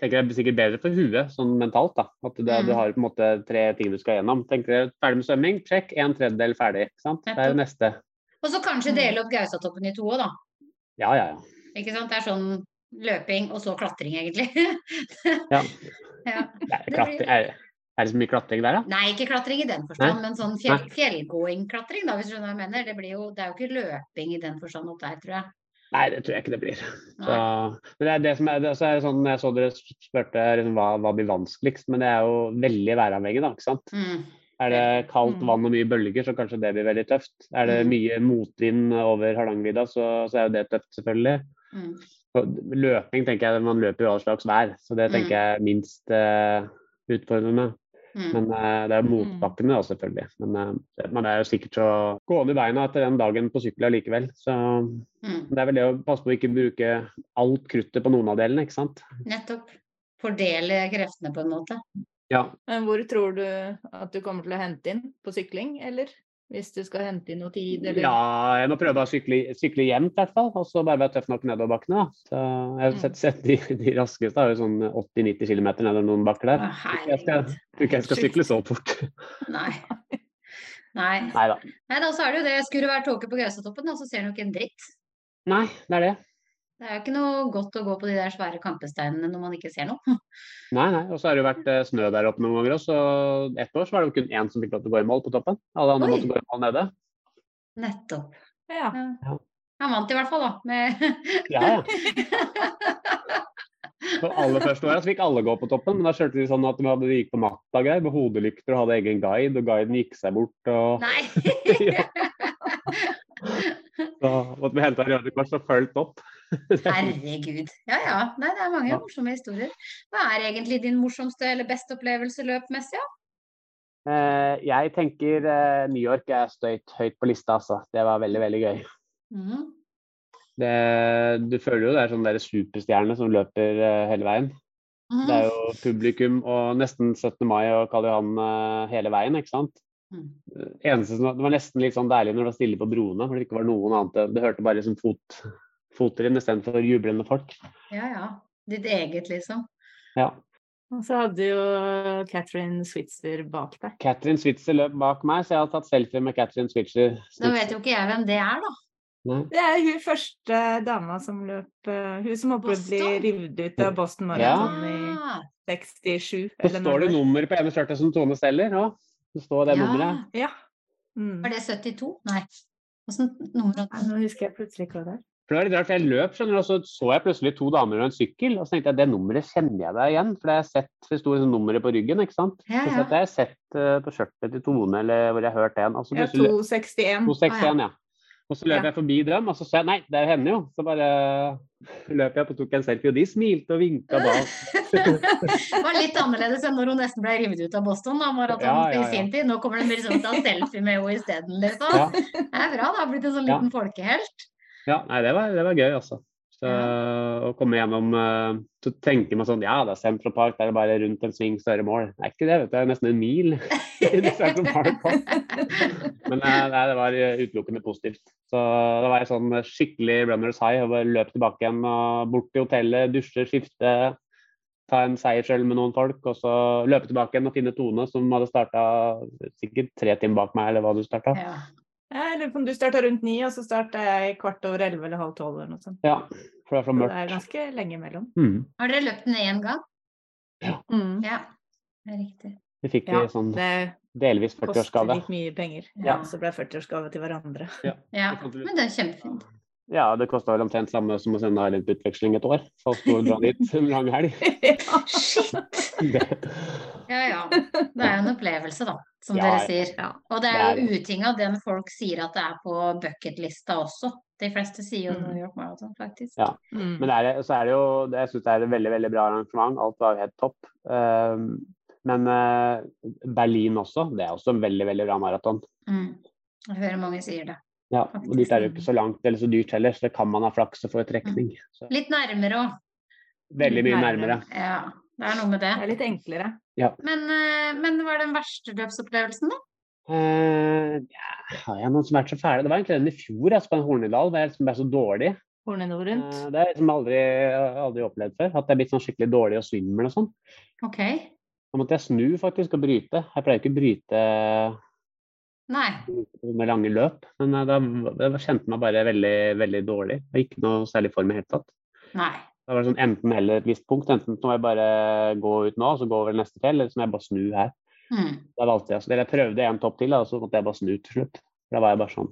S3: tenker jeg er sikkert bedre for huet sånn mentalt. da, At du, du
S2: Mm.
S3: har på en måte tre ting du skal gjennom. Tenker jeg, Ferdig med svømming, trekk. En tredjedel ferdig. ikke sant? Det er jo neste.
S2: Og så kanskje
S4: Mm.
S2: dele opp Gaustatoppen i to òg, da.
S3: Ja, ja, ja.
S2: Ikke sant. Det er sånn løping og så klatring, egentlig. *laughs*
S3: Ja.
S2: Ja.
S3: Det er,
S2: Det
S3: klatre-
S2: blir-
S3: er, er det så mye klatring der, da?
S2: Nei, ikke klatring i den forstand, men sånn fjell, fjellgåingklatring, da, hvis du skjønner hva jeg mener. Det, blir jo, det er jo ikke løping i den forstand opp der, tror jeg.
S3: Nei, det tror jeg ikke det blir. Så,
S2: Nei.
S3: men det er det som er, det, så er det sånn, Jeg så dere spurte liksom, hva, hva blir vanskeligst, men det er jo veldig væravhengig, da. ikke sant?
S2: Mm.
S3: Er det kaldt
S4: Mm.
S3: vann og mye bølger, så kanskje det blir veldig tøft. Er det
S2: Mm.
S3: mye motvind over Hardangervidda, så, så er jo det tøft, selvfølgelig.
S2: Mm.
S3: Og løping tenker jeg, man løper jo all slags vær, så det tenker jeg er minst eh, utfordrende.
S2: Mm.
S3: Men eh, det er jo motbakkene da, selvfølgelig. Men eh, det- man er jo sikkert så gående i beina etter den dagen på sykkel allikevel. Så
S2: Mm.
S3: det er vel det å passe på å ikke bruke alt kruttet på noen av delene, ikke sant.
S2: Nettopp. Fordele kreftene på en måte.
S3: Ja.
S4: Men hvor tror du at du kommer til å hente inn? På sykling, eller? Hvis du skal hente inn noe tid, eller?
S3: ja, jeg må prøve å sykle, sykle jevnt i hvert fall, og så bare være tøff nok nedover bakkene. da. Så jeg
S2: Mm.
S3: har sett, sett de, de raskeste har jo sånn 80-90 km nedover noen bakker
S2: Å,
S3: der. Jeg skal-
S2: Herregud.
S3: Tror ikke jeg skal
S4: Sjukt.
S3: sykle så fort. *laughs*
S2: Nei. Nei.
S3: Nei da.
S2: Nei da, så er det jo det. Skulle det vært tåke på Gaustatoppen, da, så ser en jo ikke en dritt.
S3: Nei, det er det.
S2: Det er jo ikke noe godt å gå på de der svære kampesteinene når man ikke ser noe.
S3: Nei, nei. Og så har det jo vært eh, snø der oppe noen ganger også. så Ett år så var det jo kun én som fikk lov til å gå i mål på toppen. Alle andre
S2: Oi.
S3: måtte gå i mål nede.
S2: Nettopp.
S4: ja.
S2: Ja. Han vant i hvert fall, da. Med *laughs*
S3: Ja, ja. Så aller første året så fikk alle gå på toppen, men da kjørte de sånn at de hadde, de gikk på natta og greier, med hodelykter og hadde egen guide, og guiden gikk seg bort og
S2: Nei.
S3: *laughs* Ja. Så måtte vi hente Røde Kors og fulgt opp.
S2: Herregud. Ja ja. Nei, det er mange
S3: Ja.
S2: morsomme historier. Hva er egentlig din morsomste eller beste opplevelse løpmessig? Ja?
S3: Eh, jeg tenker eh, New York er støyt høyt på lista, altså. Det var veldig, veldig gøy.
S2: Mm.
S3: Det, du føler jo det er sånn der superstjerne som løper eh, hele veien.
S2: Mm.
S3: Det er jo publikum og nesten 17. mai og Karl Johan eh, hele veien, ikke sant. Eh,
S2: Mm.
S3: Eneste som, det var nesten litt sånn deilig når det var stille på broene, for det ikke var noen annet. Du hørte bare liksom fot, fottrinn istedenfor jublende folk.
S2: Ja ja. Ditt eget, liksom.
S3: Ja.
S4: Og så hadde jo Catherine Switzer bak deg.
S3: Katrin Switzer løp bak meg, så jeg har tatt selfie med Katrin Switzer.
S2: Nå vet jo ikke jeg hvem det er, da.
S3: Nei.
S4: Det er hun første dama som løp eh, Hun som håper å bli
S2: Boston?
S4: revet ut av Boston Marathon
S2: Ja.
S4: i 67.
S3: Så
S4: eller når
S3: står det
S4: var.
S3: nummer på ene skjørtet som Tone selger òg. Det står det
S2: Ja.
S3: nummeret.
S4: Ja. Mm.
S2: Var det 72? Nei. Åssen nummer
S4: Nei, nå husker jeg plutselig ikke hva det er.
S3: For det var litt rart, for jeg løp, skjønner du, og så så jeg plutselig to damer og en sykkel. Og så tenkte jeg det nummeret kjenner jeg deg igjen, for det har jeg sett, det sto liksom nummeret på ryggen, ikke sant.
S2: Ja,
S3: Så
S2: ja.
S3: dette har jeg sett eh, på skjørtet til Tone, eller hvor jeg har hørt en. Altså,
S4: Ja,
S3: plutselig-
S4: 261.
S3: 261, ja. Og så løp
S4: Ja.
S3: jeg forbi dem, og så sa jeg nei, det er henne jo. Så bare løp jeg opp og tok en selfie, og de smilte og vinka da.
S2: Det var litt annerledes enn når hun nesten ble revet ut av Boston da,
S3: Ja,
S2: maratonen
S3: ja,
S2: i sin tid. Nå kommer det mer sånn ta selfie med henne isteden, liksom.
S3: Ja,
S2: Det er bra, det har blitt en sånn
S3: Ja.
S2: liten folkehelt.
S3: ja nei, det var, det var gøy, altså. Så, å komme gjennom eh, Så tenker man sånn Ja, det er Central Park, der er det bare rundt en sving, så er det mål. Det er ikke det, vet du. Det er nesten en
S4: *laughs*
S3: mil i Central Park. Park. Men eh, nei, det var eh, utelukkende positivt. Så da var jeg sånn skikkelig runners high og bare løp tilbake igjen og bort til hotellet, dusje, skifte, ta en seiersøl med noen folk, og så løpe tilbake igjen og finne Tone, som hadde starta sikkert tre timer bak meg, eller hva du starta.
S2: Ja.
S4: Jeg lurer på om du starta rundt ni, og så starta jeg kvart over elleve eller halv tolv eller noe sånt.
S3: Ja, for
S4: Så
S3: det er så
S4: det er
S3: mørkt.
S4: ganske lenge imellom.
S3: Mm.
S2: Har dere løpt den én gang?
S4: Mm.
S2: Ja, det er riktig.
S3: Vi fikk
S4: Ja,
S3: i sånn
S4: det
S3: delvis
S4: koster
S3: 40-årsgave.
S4: litt mye penger.
S2: Ja.
S4: Ja. Så ble det 40-årsgave til hverandre.
S2: Ja, men det er kjempefint.
S3: Ja, det kosta vel omtrent samme som å sende Eilend på utveksling et år. Så sto det dra dit en lang
S2: *laughs*
S3: helg.
S2: Shit!
S3: Det-
S2: Ja, ja. *laughs* Det er jo en opplevelse, da, som
S3: Ja,
S2: dere
S3: ja.
S2: sier.
S4: Ja.
S2: Og det
S3: Det
S2: er
S3: er
S2: jo uting av den folk sier at det er på bucketlista også. De fleste sier jo
S4: Mm.
S2: New York Marathon, faktisk.
S3: Ja.
S4: *laughs* Mm.
S3: Men det er, så er det jo det- Jeg syns det er et veldig, veldig bra arrangement. Alt var helt topp. Um, men eh, Berlin også. Det er også en veldig, veldig bra maraton.
S2: Mm. Jeg hører mange sier det.
S3: Ja, og dit er det jo ikke så langt eller så dyrt heller, så det kan man ha flaks og få en trekning. Så,
S2: Litt nærmere òg.
S3: veldig mye nærmere.
S2: Ja, det er noe med det.
S4: Det er litt enklere.
S2: Men, eh, men hva er den verste løpsopplevelsen, da?
S3: Eh, ja, har jeg noen som har vært så fæle? Det var egentlig den i fjor, altså, på en Hornindal. hvor Jeg liksom ble så dårlig.
S4: Hornene rundt.
S3: Eh, Det har jeg liksom aldri, aldri opplevd før. At jeg er blitt sånn skikkelig dårlig og svimmel og sånn.
S2: Ok.
S3: Da måtte jeg snu faktisk og bryte. Jeg pleier ikke å bryte
S2: Nei.
S3: med lange løp, men eh, da da kjente jeg meg bare veldig, veldig dårlig. Det var ikke noe særlig for meg i det hele tatt.
S2: Nei.
S3: Da var det sånn enten eller et visst punkt. Enten så må jeg bare gå ut nå, så gå over neste fjell, eller så må jeg bare snu her.
S2: Mm.
S3: Da valgte jeg, eller jeg prøvde en topp til, da, og så måtte jeg bare snu til slutt. Da var jeg bare sånn.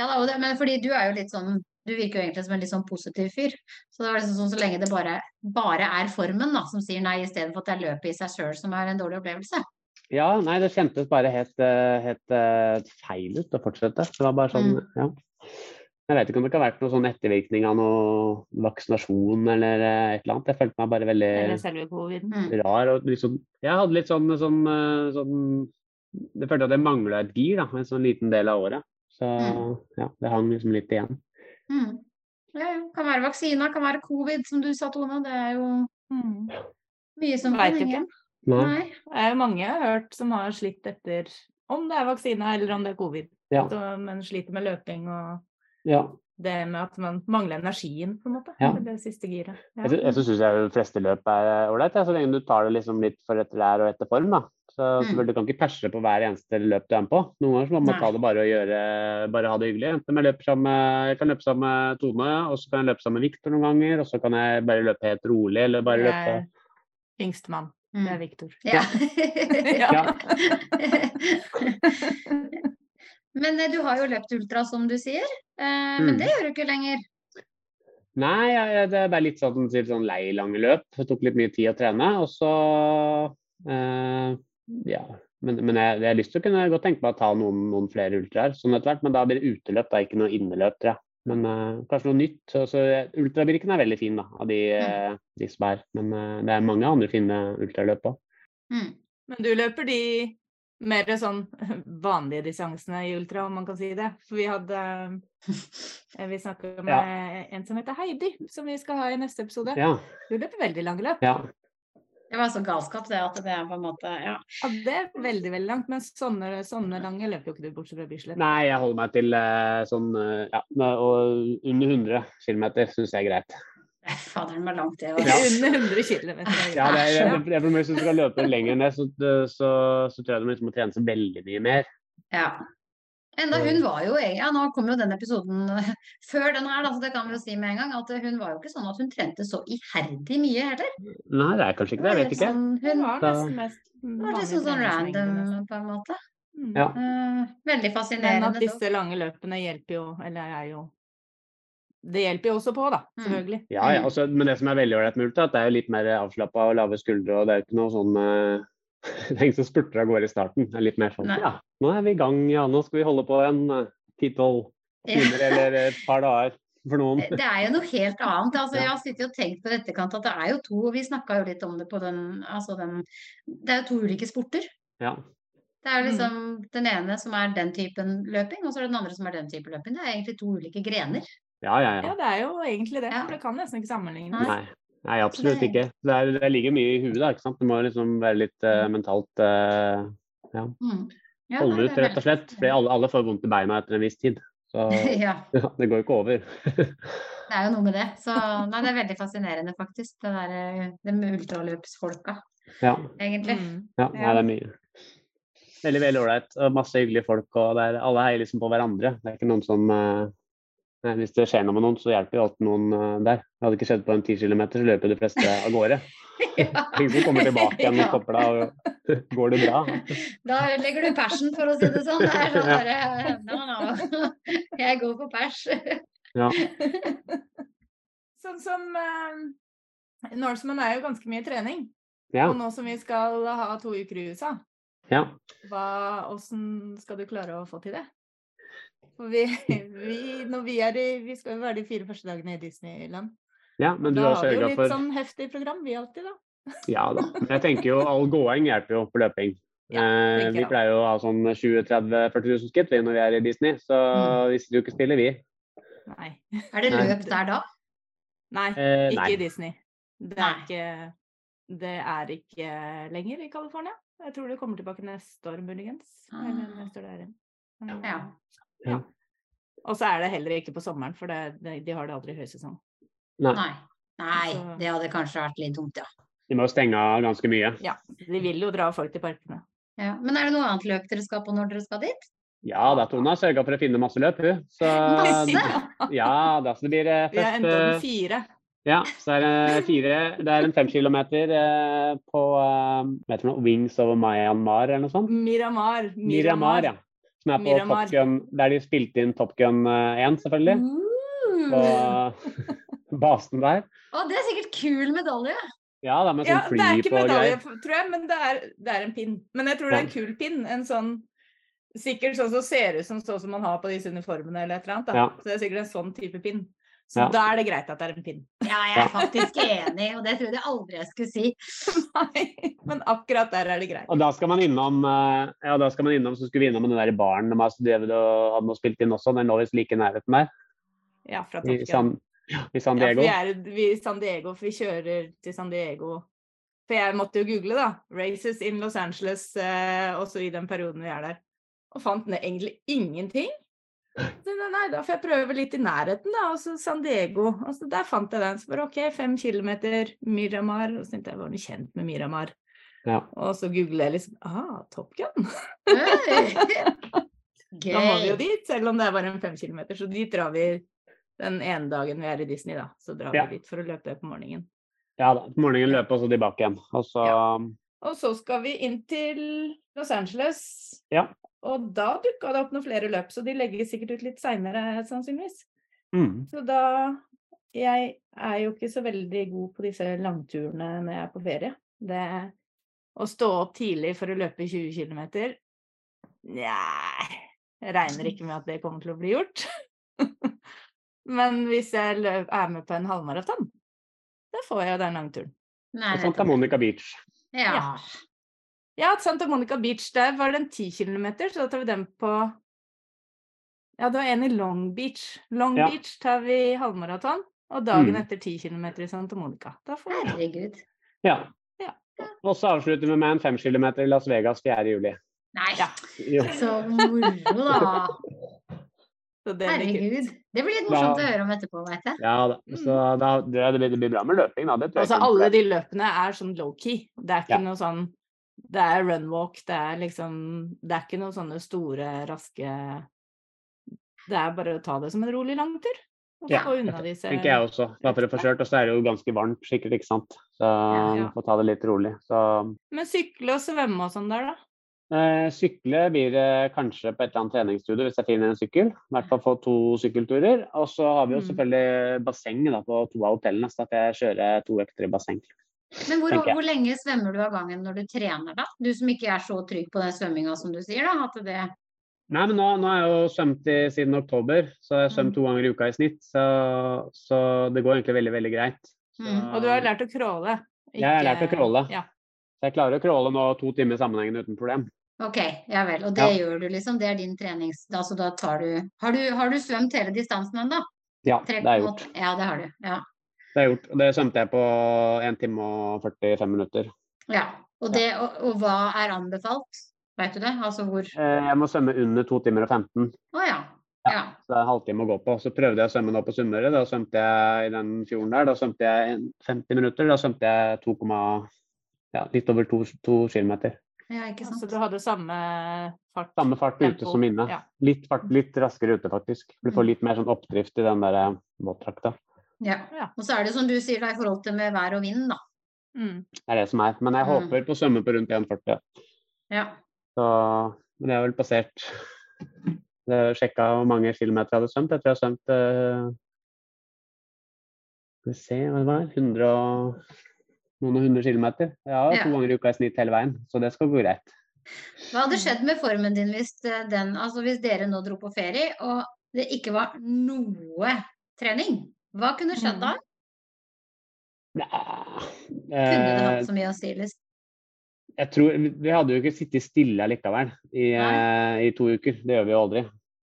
S2: Ja, da, og det, men fordi du er jo litt sånn Du virker jo egentlig som en litt sånn positiv fyr. Så det var liksom sånn så lenge det bare, bare er formen da, som sier nei, istedenfor at det er løpet i seg sjøl som er en dårlig opplevelse.
S3: Ja, nei, det kjentes bare helt, eh, helt eh, feil ut å fortsette. Det var bare sånn, ja. Jeg vet ikke om det kan ha vært noen sånn ettervirkning av noe vaksinasjon eller eh, et eller annet. Jeg følte meg bare veldig
S4: Eller selve coviden.
S2: Mm.
S3: rar og litt sånn Jeg hadde litt sånn, sånn, eh, sånn Jeg følte at jeg mangla et gir, da, en sånn liten del av året. Så
S2: Mm.
S3: ja, det hang liksom litt igjen.
S2: Mm. Ja, ja. Kan være vaksina, kan være covid, som du sa, Tone. Det er jo
S4: Mm.
S2: mye som
S4: Vet
S2: kan
S4: ikke.
S2: henge.
S3: Nei.
S2: Nei.
S4: Det er jo mange jeg har hørt som har slitt etter om det er vaksine eller om det er covid.
S3: Ja.
S4: Så, men sliter med løping og
S3: Ja.
S4: det med at man mangler energien, på en måte.
S3: Ja.
S4: Det siste giret. Ja.
S3: Jeg sy- jeg syns de fleste løp er eh, ålreit, jeg, så lenge du tar det liksom litt for etter lær og etter form. da. Så
S2: Mm.
S3: selvfølgelig, Du kan ikke perse på hver eneste løp du er med på. Noen ganger så må man
S2: Nei.
S3: ta det bare og gjøre, bare ha det hyggelig. Enten jeg, løper sammen, med- jeg kan løpe sammen med Tone, og så kan jeg løpe sammen med Viktor noen ganger. Og så kan jeg bare løpe helt rolig, eller bare
S4: Jeg
S3: løpe
S4: er Yngstemann. Det er
S2: Mm.
S4: Viktor.
S2: Ja.
S4: *laughs*
S2: *laughs*
S4: Ja.
S2: men eh, du har jo løpt ultra, som du sier. Eh,
S3: Mm.
S2: men det gjør du ikke lenger.
S3: Nei, jeg, jeg- det er bare litt sånn, typ sånn lei lange løp. Det tok litt mye tid å trene. Og så eh, Ja. Men, men jeg, jeg har lyst til å kunne godt tenke meg å ta noen, noen flere ultraer sånn etter hvert. Men da blir det uteløp, da, ikke noe inneløp, tror jeg. Men eh, kanskje noe nytt. og så- ultrabirken er veldig fin, da, av de, eh, de som er. Men eh, det er mange andre fine ultraløp òg.
S2: Mm.
S4: Men du løper de mer sånn vanlige distansene i ultra, om man kan si det. For vi hadde eh, Vi snakket med en som heter Heidi, som vi skal ha i neste episode.
S3: Ja,
S4: Hun løper veldig lange løp.
S3: ja.
S2: Det var så galskap, det at det er på en måte Ja.
S4: Ja, det er veldig, veldig langt, men sånne, sånne lange løper jo ikke du bortsett fra Bislett.
S3: Nei, jeg holder meg til eh, sånn eh, ja, og under 100 km syns jeg er greit.
S2: Nei, Faderen var langt, det
S3: Ja.
S2: òg.
S4: Under 100 km.
S3: Ja, det er,
S2: Ja.
S3: jeg, jeg, jeg, hvis du skal løpe lenger ned, så, så, så tror jeg du må liksom må trene så veldig mye mer.
S2: Ja. Enda
S3: Så-
S2: hun var jo egen- ja, Nå kom jo den episoden *laughs* før den her, da, så det kan vi jo si med en gang. At hun var jo ikke sånn at hun trente så iherdig mye heller.
S3: Nei, det er kanskje ikke det. Jeg vet ikke.
S2: Sånn,
S4: Hun
S2: hun
S4: var
S3: Da-
S4: nesten mest
S2: var
S4: vanlig
S2: liksom sånn
S4: treningsmengde nesten.
S2: random, på en måte.
S4: Mm.
S3: Ja.
S2: Eh, veldig
S4: Men
S2: fascinerende.
S4: at
S2: dog.
S4: disse lange løpene hjelper jo, eller er jo Det hjelper jo også på, da.
S2: Mm.
S4: Selvfølgelig.
S3: Ja, ja, altså, men det som er veldig ålreit med ultra, er at det er jo litt mer avslappa og lave skuldre. og Det er jo ikke noe sånn eh, *laughs* Det er ingen som spurter av gårde i starten. Det er litt mer sånn
S2: Nei.
S3: ja, nå er vi i gang, ja, nå skal vi holde på en eh, 10-12 timer eller et par dager for noen.
S2: Det er jo noe helt annet. Altså,
S3: Ja.
S2: jeg har sittet og tenkt på i etterkant at det er jo to og Vi snakka jo litt om det på den, altså den Det er jo to ulike sporter.
S3: Ja.
S2: Det
S4: Mm.
S2: er jo liksom den ene som er den typen løping, og så er det den andre som er den typen løping. Det er egentlig to ulike grener.
S3: Ja, ja, ja.
S4: Ja, det er jo egentlig det.
S2: Ja.
S4: For det kan nesten ikke sammenlignes.
S3: Nei, nei absolutt ikke. Det, er, det ligger mye i huet, da. ikke sant? Det må liksom være litt eh, mentalt eh,
S2: Mm. Ja, nei,
S3: holde
S2: det
S3: ut,
S2: er
S3: rett og slett. Fordi
S2: *laughs*
S3: alle, alle får vondt i beina etter en viss tid. Så
S2: veldig- Ja,
S3: ja, det går jo ikke over.
S2: det er jo noe med det. Så nei, det er veldig fascinerende, faktisk. Det derre de ultraløpsfolka,
S3: ja,
S2: egentlig.
S4: Mm.
S3: ja nei, det er mye. Veldig veldig ålreit. og Masse hyggelige folk. og det er, Alle heier liksom på hverandre. Det er ikke noen som eh, nei, Hvis det skjer noe med noen, så hjelper jo alltid noen eh, der. Det hadde ikke skjedd på en 10 km, så løper jo de fleste av gårde. Mm. Ingen som kommer tilbake igjen og
S2: Ja.
S3: stopper deg. og Går det bra?
S2: *laughs* Da legger du persen, for å si det sånn. Det er sånn bare No, no. *laughs* Jeg går på pers. *laughs*
S4: Sånn som eh, Norseman er jo ganske mye trening.
S3: Ja.
S4: Og nå som vi skal ha to uker i USA,
S3: ja.
S4: hva, hvordan skal du klare å få til det? For vi, *laughs* vi, når vi, er i, vi skal jo være de fire første dagene i Disneyland.
S3: Ja, men du
S4: da
S3: har
S4: har vi jo
S3: sørga
S4: litt
S3: for
S4: sånn heftig program, vi alltid, da.
S3: Ja da. Men jeg tenker jo all gåing hjelper jo på løping.
S4: Ja,
S3: Eh,
S4: tenker
S3: vi
S4: jeg.
S3: pleier jo å ha sånn 20 30 40 000 skritt vi, når vi er i Disney, så
S2: Mm.
S3: vi sitter jo ikke stille, vi.
S4: Nei.
S2: Er det
S3: Nei.
S2: løp der da?
S4: Nei,
S3: Eh,
S4: ikke
S3: nei.
S4: i Disney. Det er
S2: Nei.
S4: ikke, det er ikke lenger i California. Jeg tror det kommer tilbake neste år, muligens. Eller
S2: Ah.
S4: neste år der igjen. Men,
S2: Ja.
S3: Ja.
S4: Og så er det heller ikke på sommeren, for det, det, de har det aldri i høysesong.
S3: Nei.
S2: Nei. Nei,
S4: Så-
S2: det hadde kanskje vært litt dumt, ja.
S3: Vi må jo stenge av ganske mye.
S4: De vil jo dra folk til parkene.
S2: ja. Men er det noe annet løp dere skal på når dere skal dit?
S3: Ja da, Tone har sørga for å finne masse løp, hun. Så
S4: *laughs*
S2: Masse!
S3: ja da, så det blir eh,
S4: Vi har
S3: først
S4: enda den
S3: eh,
S4: fire.
S3: Ja, så er det fire Det er en fem kilometer eh, på eh, vet du noe, Wings over Myanmar eller noe sånt.
S4: Miramar.
S3: Miramar, ja. Som er på
S4: Miramar.
S3: Top Gun, der de spilte inn Top Gun eh, 1, selvfølgelig. På
S2: Mm.
S3: basen der.
S2: Å, det er sikkert kul medalje.
S3: Ja, da, med
S4: Ja, det
S3: sånn
S4: er
S3: fly
S4: ikke
S3: på og
S4: medalje,
S3: greier.
S4: tror jeg, men det er, det er en pin. Men jeg tror det er en kul pin. En sånn Sikkert sånn som ser ut som sånn som man har på disse uniformene eller et eller annet. Da.
S3: Ja.
S4: Så det er sikkert en sånn type pin. Så
S3: Ja.
S4: da er det greit at det er en pin. *laughs*
S2: Ja, jeg er faktisk enig, og det trodde jeg aldri jeg skulle si.
S4: Nei, men akkurat der er det greit.
S3: Og da skal man innom eh, ja, da skal man innom, så skulle vi innom den der baren de har drevet og hadde noe spilt inn også. Den lå visst like i nærheten der,
S4: Ja, fra
S3: i
S4: Tokyo.
S3: San, i San
S4: Ja, for
S3: Diego.
S4: vi er vi er i San Diego, for vi kjører til San Diego. For jeg måtte jo google, da. Races in Los Angeles, eh, også i den perioden vi er der. Og fant ne- egentlig ingenting. Så nei, nei, da får jeg prøve litt i nærheten, da. Og så San Diego. Og så der fant jeg den. Så bare OK, fem kilometer, Miramar. Og så tenkte jeg, var du kjent med Miramar?
S3: Ja.
S4: Og så googler jeg liksom Ah, Top Gun! *laughs*
S2: Øy.
S4: Da må vi jo
S2: Gøy.
S4: dit, selv om det er bare en fem kilometer. Så dit drar vi den ene dagen vi er i Disney, da. Så drar
S3: Ja.
S4: vi dit for å løpe på morgenen.
S3: Ja da. På morgenen løpe og så tilbake igjen. Og så
S4: Og så skal vi inn til Los Angeles.
S3: Ja.
S4: Og da dukka det opp noen flere løp, så de legges sikkert ut litt seinere, sannsynligvis.
S3: mm,
S4: Så da Jeg er jo ikke så veldig god på disse langturene når jeg er på ferie. Det å stå opp tidlig for å løpe 20 km Nja Jeg regner ikke med at det kommer til å bli gjort. *laughs* Men hvis jeg løp, er med på en halvmaraton, da får jeg jo den langturen.
S2: Nei,
S3: og Santa Monica Beach.
S2: Ja.
S4: Ja, Santa Monica Beach, der var det en 10 kilometer, så da tar vi den på Ja, det var en i Long Beach. Long
S3: Ja.
S4: Beach tar vi halvmaraton, og dagen
S3: Mm.
S4: etter 10 kilometer i Santa Monica. Da får vi
S2: Herregud.
S3: Ja.
S4: Ja.
S3: Og så avslutter vi med en fem kilometer i Las Vegas 4. juli.
S2: Nei,
S4: Ja.
S3: Jo.
S2: så moro, da.
S4: Så det blir kult.
S2: Herregud. Det blir litt morsomt
S3: Da-
S2: å høre om etterpå, veit jeg.
S3: Ja da. Så da, det, det blir- det blir bra med løping, da. Det tror jeg
S4: Altså,
S3: ikke.
S4: alle de løpene er sånn low-key. Det er ikke
S3: Ja.
S4: noe sånn Det er runwalk, det er liksom Det er ikke noe sånne store, raske Det er bare å ta det som en rolig langtur. Og
S3: Ja,
S4: få unna disse
S3: tenker jeg også. Bare for å få kjørt. Og så er det jo ganske varmt sikkert, ikke sant. Så
S4: ja.
S3: får ta det litt rolig. Så
S4: Men sykle og svømme og sånn der, da?
S3: eh, sykle blir eh, kanskje på et eller annet treningsstudio hvis jeg finner en sykkel. I hvert fall få to sykkelturer. Og så har vi jo
S4: Mm.
S3: selvfølgelig basseng da, på to av hotellene, så at jeg kjører to økter i basseng.
S2: Men hvor,
S3: tenker jeg.
S2: hvor lenge svømmer du av gangen når du trener, da? Du som ikke er så trygg på den svømminga som du sier, da. At det
S3: Nei, men nå, nå har jeg jo svømt i, siden oktober, så jeg har svømt
S4: Mm.
S3: to ganger i uka i snitt. Så, så det går egentlig veldig, veldig greit. Så,
S2: Mm,
S4: Og du har lært å crawle.
S3: Jeg har lært å
S4: Ikke-
S3: crawle.
S4: Ja.
S3: så jeg klarer å crawle nå to timer sammenhengende uten problem.
S2: Ok, ja vel. Og det gjør du liksom, det er din trenings... Altså da tar du Har du, har du svømt hele distansen ennå?
S3: Ja, det er gjort.
S2: 3,8. Ja, det har du. Ja.
S3: Det er gjort. Og det svømte jeg på 1 time og 45 minutter.
S2: ja. Og, det, og, og hva er anbefalt? Vet du det? Altså hvor Å
S3: Eh, Jeg må svømme under 2 timer og 15,
S2: ja.
S3: Ja.
S2: ja.
S3: så det er en halvtime å gå på. Så prøvde jeg å svømme nå på Sunnmøre. Da svømte jeg i den fjorden der. Da svømte jeg en- 50 minutter. Da svømte jeg 2, ja, litt over 2, 2 km.
S2: Ja, ikke
S4: Så
S2: sant.
S4: du hadde samme fart?
S3: Samme fart ute
S4: tempo.
S3: som inne.
S4: Ja. Mm.
S3: Litt, fart, litt raskere ute, faktisk. Du får litt mer sånn oppdrift i den der eh, våtdrakta.
S2: Ja.
S4: Ja.
S2: Og så er det som du sier, da, i forhold til med vær og vind, da.
S4: Mm.
S3: Det er det som er. Men jeg
S2: Mm.
S3: håper på å svømme på rundt 1,40.
S2: Ja.
S3: Så men jeg har vel passert Jeg har sjekka hvor mange kilometer jeg hadde svømt. Jeg tror jeg har svømt eh, Skal vi se hva det var 100 og noen og hundre kilometer. Jeg har
S2: Ja.
S3: to ganger i uka i snitt hele veien, så det skal gå greit.
S2: Hva hadde skjedd med formen din hvis eh, den Altså hvis dere nå dro på ferie, og det ikke var noe trening? Hva kunne skjedd da?
S3: Mm.
S2: Kunne det
S3: Eh,
S2: hatt så mye å si? liksom?
S3: jeg tror, vi hadde jo ikke sittet stille likevel i, eh, i to uker. Det gjør vi jo aldri.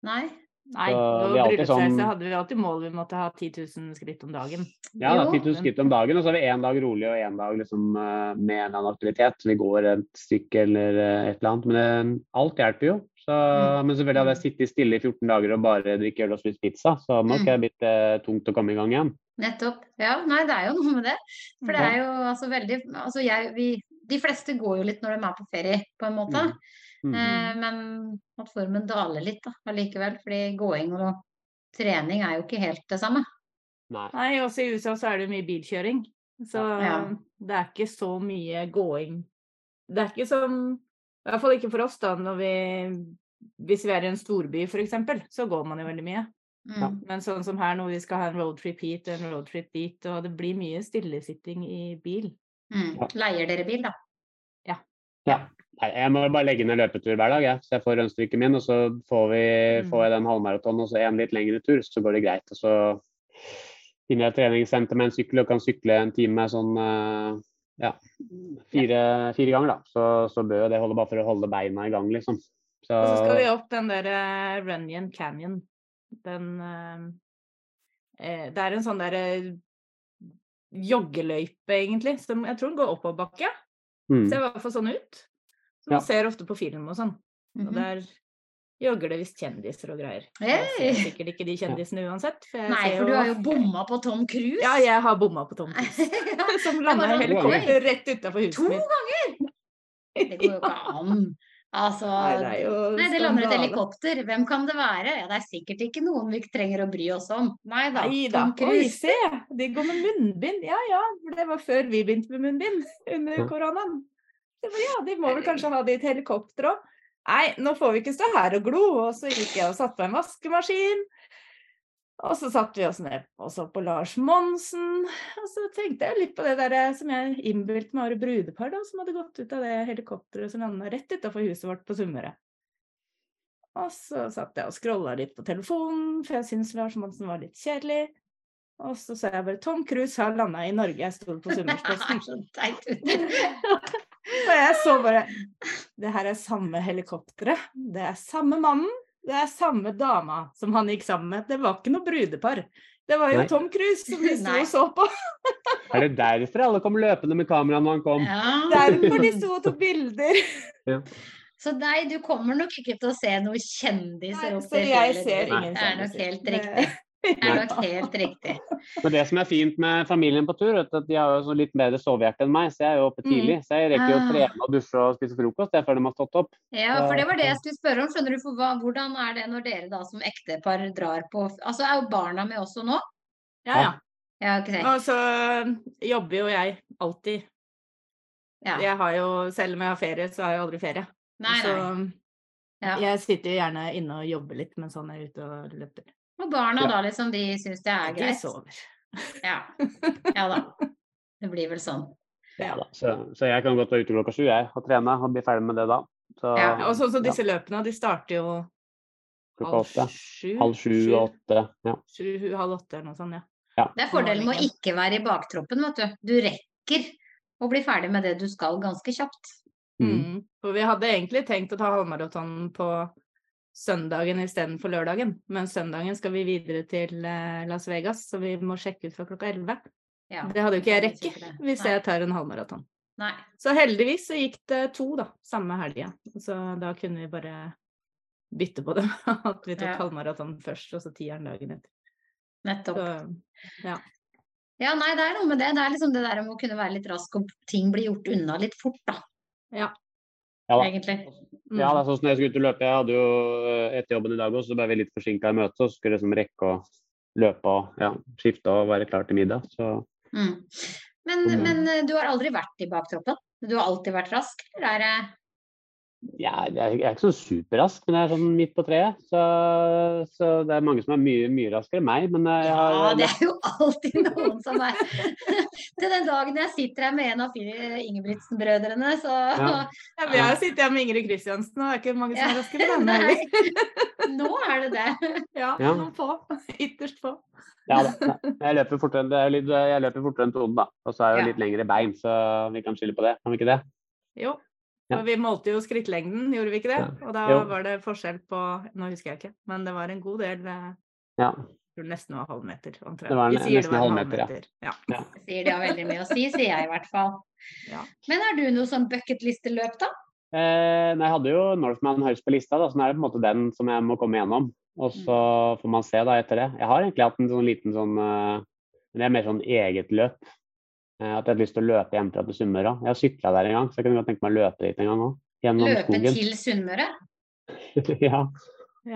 S2: Nei?
S4: Nei,
S3: Så
S4: på
S3: vi er alltid
S4: bryllupsreise
S3: sånn-
S4: hadde vi alltid mål vi måtte ha 10 000 skritt om dagen.
S3: Ja, da,
S2: Jo.
S3: 10 000 skritt om dagen, og så har vi én dag rolig og én dag liksom, eh, med en eller annen aktivitet. Vi går et stykke eller eh, et eller annet. Men eh, alt hjelper jo. Så,
S2: Mm.
S3: Men selvfølgelig hadde jeg sittet stille i 14 dager og bare drikke øl og spist pizza, så hadde nok
S2: Mm.
S3: jeg blitt eh, tungt å komme i gang igjen.
S2: Nettopp. Ja, nei, det er jo noe med det. For det er jo altså veldig Altså jeg vi, De fleste går jo litt når de er på ferie, på en måte.
S3: Mhm. Mm.
S2: Eh, men at formen daler litt da, allikevel. Fordi gåing og trening er jo ikke helt det samme.
S3: Nei.
S4: Nei, også i USA så er det mye bilkjøring. Så
S2: Ja.
S4: det er ikke så mye gåing. Det er ikke som I hvert fall ikke for oss, da, når vi Hvis vi er i en storby, f.eks., så går man jo veldig mye.
S2: Mm.
S3: Ja.
S4: Men sånn som her, når vi skal ha en roadtrip hit og en roadtrip dit, og det blir mye stillesitting i bil.
S2: Mm.
S3: Ja.
S2: Leier dere bil, da?
S3: Nei, jeg må bare legge ned løpetur hver dag, jeg. så jeg får rundstrykken min. Og så får, vi,
S4: Mm.
S3: får jeg den halvmaratonen og så en litt lengre tur, så går det greit. Og så finner jeg et treningssenter med en sykkel og kan sykle en time sånn eh, ja, fire, fire ganger, da. Så, så bør jo det holde bare for å holde beina i gang, liksom. Så,
S4: Og så skal vi opp den der eh, Runyon Canyon. Den eh, eh, Det er en sånn derre joggeløype, egentlig. Som jeg tror den går oppoverbakke.
S3: mm,
S4: Ser i hvert fall sånn ut. Som
S3: Ja.
S4: man ser ofte på film og sånn. Og
S2: Mhm.
S4: der jogger det visst kjendiser og greier. Jeg
S2: Hey!
S4: ser sikkert ikke de kjendisene uansett. For jeg
S2: Nei,
S4: ser
S2: for du har jo bomma på Tom Cruise!
S4: Ja, jeg har bomma på Tom
S2: *laughs*
S4: Cruise. Som landa i
S2: sånn,
S4: helikopter rett utafor
S2: to
S4: huset mitt.
S2: ganger! Det går jo ikke an. Altså
S4: Nei, det er jo
S2: Nei, det lander et
S4: skandale.
S2: helikopter. Hvem kan det være? Ja, det er sikkert ikke noen vi trenger å bry oss om. Nei da.
S4: Nei da.
S2: Tom
S4: Oi,
S2: Cruise.
S4: se! De går med munnbind. Ja ja, for det var før vi begynte med munnbind *laughs* under
S3: Ja.
S4: koronaen. Det var, ja, De må vel kanskje ha det i et helikopter òg. Nei, nå får vi ikke stå her og glo. Og så gikk jeg og satte på en vaskemaskin. Og så satte vi oss ned og så på Lars Monsen. Og så tenkte jeg litt på det der eh, som jeg innbilte meg var et brudepar da, som hadde gått ut av det helikopteret som landa rett utafor huset vårt på Sunnmøre. Og så satt jeg og scrolla litt på telefonen, for jeg syntes Lars Monsen var litt kjedelig. Og så sa jeg bare Tom Cruise har landa i Norge, jeg sto på Sunnmørsposten.
S2: Så teit ut.
S4: Og jeg så bare Det her er samme helikopteret, det er samme mannen, det er samme dama som han gikk sammen med. Det var ikke noe brudepar. Det var jo
S3: Nei.
S4: Tom Cruise som vi sto
S2: Nei.
S4: og så på.
S3: Er det derfor alle kom løpende med kamera når han kom?
S4: Derfor de
S2: Ja.
S4: sto og tok bilder.
S2: *laughs* Så nei, du kommer nok ikke til å se noen
S4: Nei, så
S2: kjendiser oppi
S4: jeg
S2: fjellet,
S4: ser
S2: du.
S3: Nei.
S4: ingen
S2: Det er nok helt riktig.
S4: Det-
S2: Det er nok helt riktig.
S3: Men det som er fint med familien på tur, vet du, at de har jo så litt bedre sovehjerte enn meg, så jeg er jo
S4: Mm.
S3: oppe tidlig. Så jeg rekker jo å
S2: Ah.
S3: trene og dusje og spise frokost jeg, før de har stått opp.
S2: Ja, for det var det
S3: Ja.
S2: jeg skulle spørre om. Skjønner du, for hva, Hvordan er det når dere da som ektepar drar på Altså, er jo barna med også nå?
S4: Ja, ja.
S2: Ja, ikke sant?
S4: Og så jobber jo jeg alltid.
S2: Ja.
S4: Jeg har jo, selv om jeg har ferie, så har jeg aldri ferie.
S2: Nei,
S4: så
S2: nei. Ja.
S4: jeg sitter jo gjerne inne og jobber litt mens han er ute og løper.
S2: Og barna
S3: Ja.
S2: da, liksom, de syns det er
S4: De
S2: greit?
S4: sover.
S2: Ja. ja da.
S4: *laughs*
S2: Det blir vel sånn.
S4: Ja.
S3: Så, så jeg kan godt være ute klokka sju jeg, og trene og bli ferdig med det da. Så,
S2: Ja,
S4: Og sånn som disse løpene, de starter jo
S3: klokka åtte.
S4: sju?
S3: Halv sju og åtte. Ja.
S4: Sju, halv åtte eller noe sånt, ja.
S2: Det er fordelen med å ikke være i baktroppen, vet du. Du rekker å bli ferdig med det du skal ganske kjapt.
S3: Mm.
S4: Mm. For vi hadde egentlig tenkt å ta halvmaratonen på søndagen istedenfor lørdagen. Men søndagen skal vi videre til eh, Las Vegas, så vi må sjekke ut fra klokka 11.
S2: Ja.
S4: Det hadde jo ikke jeg
S2: det er
S4: rekke
S2: sikkert det.
S4: hvis
S2: Nei.
S4: jeg tar en halvmaraton.
S2: Nei.
S4: Så heldigvis så gikk det to, da, samme helga. Så da kunne vi bare bytte på dem. *laughs* At vi tok
S2: Ja.
S4: halvmaraton først, og så tieren dagen etter.
S2: Nettopp.
S4: Så,
S2: Ja, nei, det er noe med det. Det er liksom det der om å kunne være litt rask og ting blir gjort unna litt fort, da.
S3: Ja, da.
S2: Egentlig.
S4: mm.
S3: ja, det er sånn som når jeg skulle ut og løpe. Jeg hadde jo eh, etter jobben i dag også, så ble vi litt forsinka i møtet. Og så skulle jeg liksom rekke å løpe og ja, skifte og være klar til middag. Så
S2: Mm. Men,
S3: Mm.
S2: men eh, du har aldri vært i baktroppen? Du har alltid vært rask? Eller er det
S3: ja, jeg jeg er ikke så superrask, men jeg er sånn midt på treet. Så, så det er mange som er mye, mye raskere enn meg. Men eh, jeg har
S2: Ja, det er jo alltid noen som er *laughs* Til den dagen jeg sitter her med en av fire Ingebrigtsen-brødrene, så *laughs*
S3: Ja.
S4: Ja, vi har sittet her med Ingrid Kristiansen, og det er ikke mange som er raske på denne
S2: *laughs* Nei.
S4: heller.
S2: Nå er det det.
S4: Ja,
S3: Ja.
S4: noen få. *laughs* Ytterst få.
S3: Ja da. Nei, Jeg løper fortere enn det er litt- jeg løper fortere enn Tone, da. Og så er jeg jo
S2: Ja.
S3: litt lengre bein, så vi kan skille på det. Kan vi ikke det?
S4: Jo.
S3: Ja.
S4: For vi målte jo skrittlengden, gjorde vi ikke det? Og da
S3: Jo.
S4: var det forskjell på Nå husker jeg ikke, men det var en god del. eh,
S3: Ja.
S4: Jeg tror nesten det var halvmeter. omtrent.
S3: Det var
S4: Vi
S3: ne-
S4: sier
S3: nesten
S4: var en
S3: halvmeter, ja.
S4: halvmeter, ja.
S2: Sier de har veldig mye å si, sier jeg i hvert fall.
S4: Ja.
S2: Men har du noe sånn bucketlisteløp, da?
S3: Eh, nei, jeg hadde jo Northman høyst på lista, da, så nå er det på en måte den som jeg må komme gjennom. Og så får man se da etter det. Jeg har egentlig hatt en sånn liten sånn eh, Men det er mer sånn eget løp. Eh, at jeg har lyst til å løpe hjem fra til Sunnmøre. Jeg har sykla der en gang, så jeg kunne godt tenke meg å løpe dit en gang òg. Gjennom
S2: Løpe
S3: skogen.
S2: til Sunnmøre?
S3: *laughs* ja.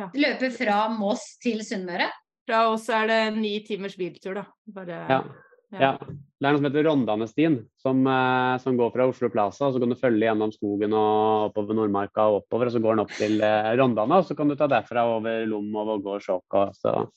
S4: ja.
S2: Løpe fra Moss til Sunnmøre?
S4: Fra oss er det ni timers biltur, da. Bare
S3: Ja. Ja. Det er noe som heter Rondanestien, som, eh, som går fra Oslo Plaza. og Så kan du følge gjennom skogen og oppover Nordmarka og oppover. og Så går den opp til eh, Rondane, og så kan du ta derfra over Lom og Vågårdsåk. og så-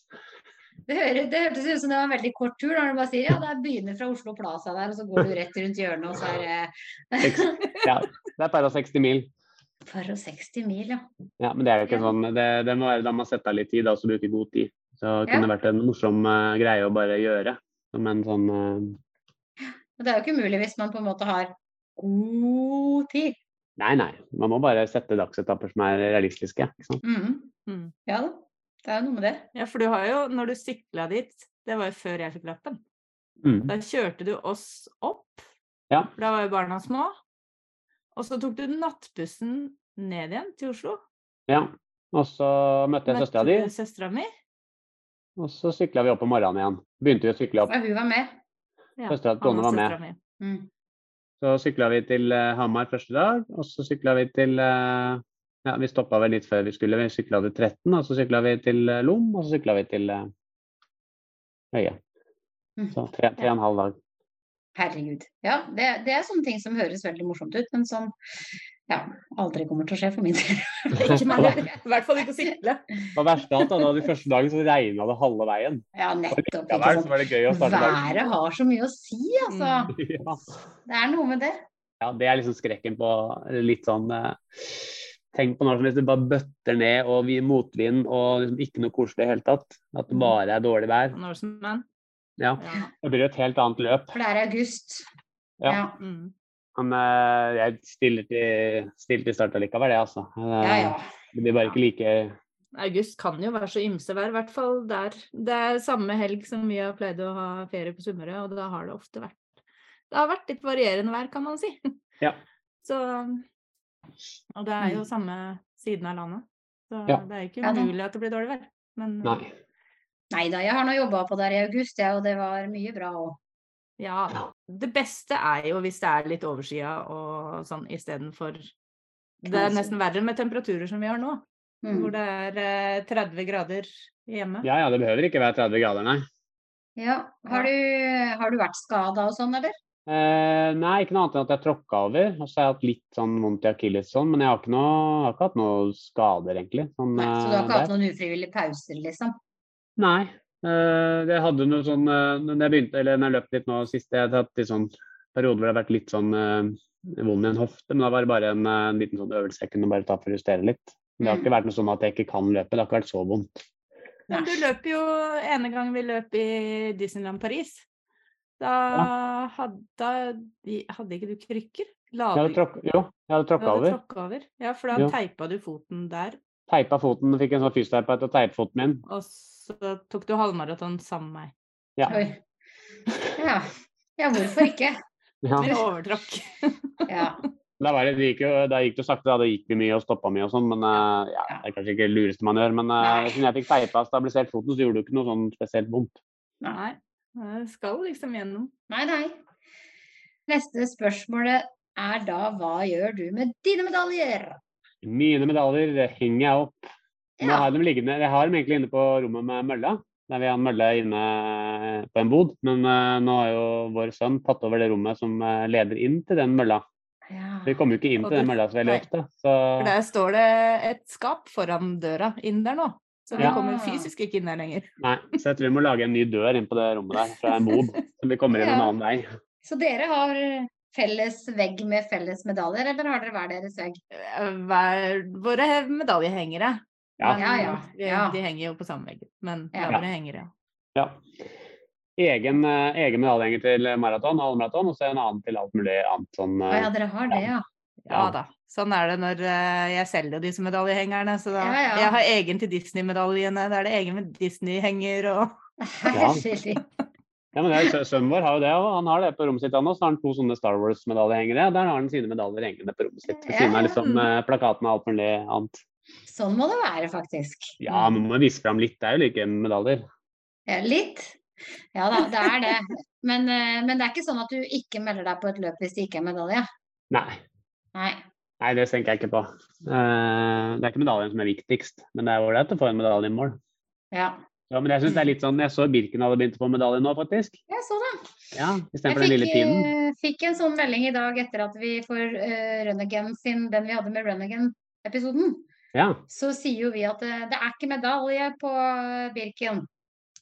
S2: Det, hører, det hørtes ut som det var en veldig kort tur, når du bare sier ja, det begynner fra Oslo Plaza der, og så går du rett rundt hjørnet, og så er det
S3: Ja, det er bare 60 mil.
S2: *laughs* Bare 60 mil, ja.
S3: Ja, men det er jo ikke
S2: Ja.
S3: sånn. Det, det må være da man setter av litt tid, da, så bruker god tid. Så det kunne vært en morsom eh, greie å bare gjøre. Som en sånn eh,
S2: Men det er jo ikke mulig hvis man på en måte har god tid.
S3: Nei, nei. Man må bare sette dagsetapper som er realistiske. Ikke sant?
S2: Mhm.
S4: Mm.
S2: Ja da. Det er jo noe med det.
S4: ja, for du har jo Når du sykla dit, det var jo før jeg fikk lappen,
S3: Mm.
S4: da kjørte du oss opp.
S3: Ja.
S4: For da var jo barna små. Og så tok du nattbussen ned igjen til Oslo.
S3: Ja. Og så møtte jeg søstera di.
S4: søstera mi.
S3: Og så sykla vi opp om morgenen igjen. Begynte vi å sykle opp.
S2: Ja, hun var med.
S4: Ja,
S3: Søstera til Tone var med.
S4: søstera mi.
S2: Mm.
S3: Så sykla vi til eh, Hamar første dag, og så sykla vi til eh, Ja, vi stoppa vel litt før vi skulle. Vi sykla til 13, og så sykla vi til eh, Lom, og så sykla vi til eh, Øye.
S2: Mm.
S3: Så tre, tre og en halv dag.
S2: Herregud. Ja, det, det er sånne ting som høres veldig morsomt ut, men som ja, aldri kommer til å skje for min del. *laughs*
S4: Ikke meg heller. I hvert fall ikke å sykle.
S3: Og verst av alt, da, da de første dagen så regna det halve veien.
S2: Ja, nettopp. Ikke
S3: Ja, vel, så
S2: sant?
S3: var det gøy å starte dagen.
S2: Været har så mye å si,
S4: Mm.
S2: altså.
S3: *laughs* Ja.
S2: Det er noe med det.
S3: ja, det er liksom skrekken på litt sånn eh, Tenk på når som helst du bare bøtter ned og vi motvind og liksom ikke noe koselig i det hele tatt. At det bare er dårlig vær.
S4: Norseman.
S3: Ja.
S4: Ja.
S3: Det blir et helt annet løp.
S2: For det er august.
S3: Ja.
S4: Mm.
S3: Men eh, jeg stiller til, stiller til start allikevel, jeg, altså. Eh,
S2: ja. ja.
S3: Det blir bare ikke like
S4: August kan jo være så ymse vær, i hvert fall der. Det er samme helg som vi har pleid å ha ferie på Sunnmøre, og da har det ofte vært Det har vært litt varierende vær, kan man si.
S3: Ja.
S4: *laughs*
S3: Mm.
S4: Så Og det er jo samme siden av landet. Så
S3: Ja.
S4: det er ikke
S2: Ja da.
S4: umulig at det blir dårlig vær. Men
S3: Nei.
S2: Nei da, jeg har nå jobba på der i august, jeg, og det var mye bra òg.
S4: ja, det beste er jo hvis det er litt overskya og sånn istedenfor Det er
S2: Knallsol.
S4: nesten verre med temperaturer som vi har nå,
S2: Mm.
S4: hvor det er eh, 30 grader hjemme.
S3: Ja ja, det behøver ikke være 30 grader, nei.
S2: Ja. Har, du, har du vært skada og sånn, eller?
S3: Eh, nei, ikke noe annet enn at jeg tråkka over. Og så har jeg hatt litt sånn vondt i akilles sånn, men jeg har ikke, noe, har ikke hatt noe skader, egentlig. Sånn,
S2: Nei, så du har
S3: eh,
S2: ikke hatt
S3: der.
S2: noen ufrivillige pauser, liksom?
S3: Nei. Eh, jeg hadde noe sånn eh, når jeg begynte, eller når jeg løp litt nå sist, jeg hadde hatt litt sånn periode hvor det har vært litt sånn eh, vond i en hofte, men da var det bare en, eh, en liten sånn øvelse jeg kunne bare ta for å justere litt. Men
S2: Mm.
S3: det har ikke vært noe sånn at jeg ikke kan løpe. Det har ikke vært så vondt.
S4: Men du løp jo ene gang vi løp i Disneyland Paris. Da hadde, da- de- hadde ikke du krykker? La
S3: Jeg hadde
S4: du-
S3: tråkk- jo, jeg hadde
S4: du
S3: tråkka
S4: hadde
S3: over.
S4: tråkka over? Ja, for da
S3: Jo.
S4: teipa du foten der,
S3: Teipa foten, fikk en sånn fysioterapeut til å teipe foten min.
S4: og så tok du halvmaraton sammen med meg.
S3: Ja.
S2: Oi. Ja. ja, hvorfor ikke?
S3: Ja.
S4: Med overtråkk.
S2: Ja.
S3: Da, var det, det gikk jo, da gikk det jo sakte, da. Da gikk vi mye og stoppa mye og sånn. Men eh, ja, det er kanskje ikke det lureste man gjør. Men eh,
S2: Nei.
S3: siden jeg fikk teipa og stabilisert foten, så gjorde det jo ikke noe sånn spesielt vondt.
S4: Nei, det skal liksom gjennom.
S2: Nei, nei. Neste spørsmålet er da hva gjør du med dine medaljer?
S3: Mine medaljer det henger jeg opp. Nå
S2: Ja.
S3: har jeg dem liggende, jeg har dem egentlig inne på rommet med mølla. Der vi har en mølle inne på en bod. Men eh, nå har jo vår sønn tatt over det rommet som eh, leder inn til den mølla. Så Vi
S2: Ja.
S3: kommer jo ikke inn til den mølla så veldig
S4: Nei.
S3: ofte. Så
S4: For der står det et skap foran døra inn der nå. Så vi
S3: Ja.
S4: kommer fysisk ikke inn der lenger.
S3: Nei, så jeg tror vi må lage en ny dør inn på det rommet der, fra en bod. Så vi kommer inn en
S2: Ja.
S3: annen vei.
S2: Så dere har felles vegg med felles medaljer, eller har dere hver deres vegg?
S4: Eh, Hver, våre medaljehengere.
S3: Ja.
S4: Men
S2: Ja, ja,
S4: vi-
S2: ja.
S4: De henger jo på samme vegg, men
S2: Ja.
S4: ja. våre hengere.
S3: Ja. Egen, eh, egen medaljehenger til maraton og halvmaraton, og så en annen til alt mulig annet sånn
S2: Å
S3: eh,
S2: ja, dere har det, ja.
S4: Ja
S3: Ja.
S4: da. Sånn er det når eh, jeg selger disse medaljehengerne. Så da,
S2: Ja, ja.
S4: Jeg har egen til Disney-medaljene. Da er det egen med Disney-henger og
S3: Ja.
S2: Herlig.
S3: Ja, men det er, sø- Sønnen vår har jo det, og han har det på rommet sitt. Han også Så har han to sånne Star Wars-medaljehengere. Der har han sine medaljer hengende på rommet sitt. Ved siden av liksom, eh, plakaten og alt mulig annet.
S2: Sånn må det være, faktisk.
S3: Ja, man må vise fram litt. Det er jo like medaljer.
S2: Ja, litt. Ja da, det er det. Men, eh, men det er ikke sånn at du ikke melder deg på et løp hvis det ikke er medalje?
S3: Nei,
S2: Nei.
S3: nei det tenker jeg ikke på. Eh, det er ikke medaljen som er viktigst, men det er ålreit å få en medalje i mål.
S2: Ja.
S3: Ja, men jeg synes det er litt sånn, jeg så Birken hadde begynt å få medalje nå, faktisk.
S2: Jeg så det.
S3: Ja,
S2: Jeg
S3: Istedenfor den
S2: fikk,
S3: lille tiden.
S2: eh, fikk en sånn melding i dag etter at vi får eh, Rønningen sin, den vi hadde med Rønningen-episoden.
S3: Ja.
S2: så sier jo vi at eh, det er ikke medalje på eh, Birken.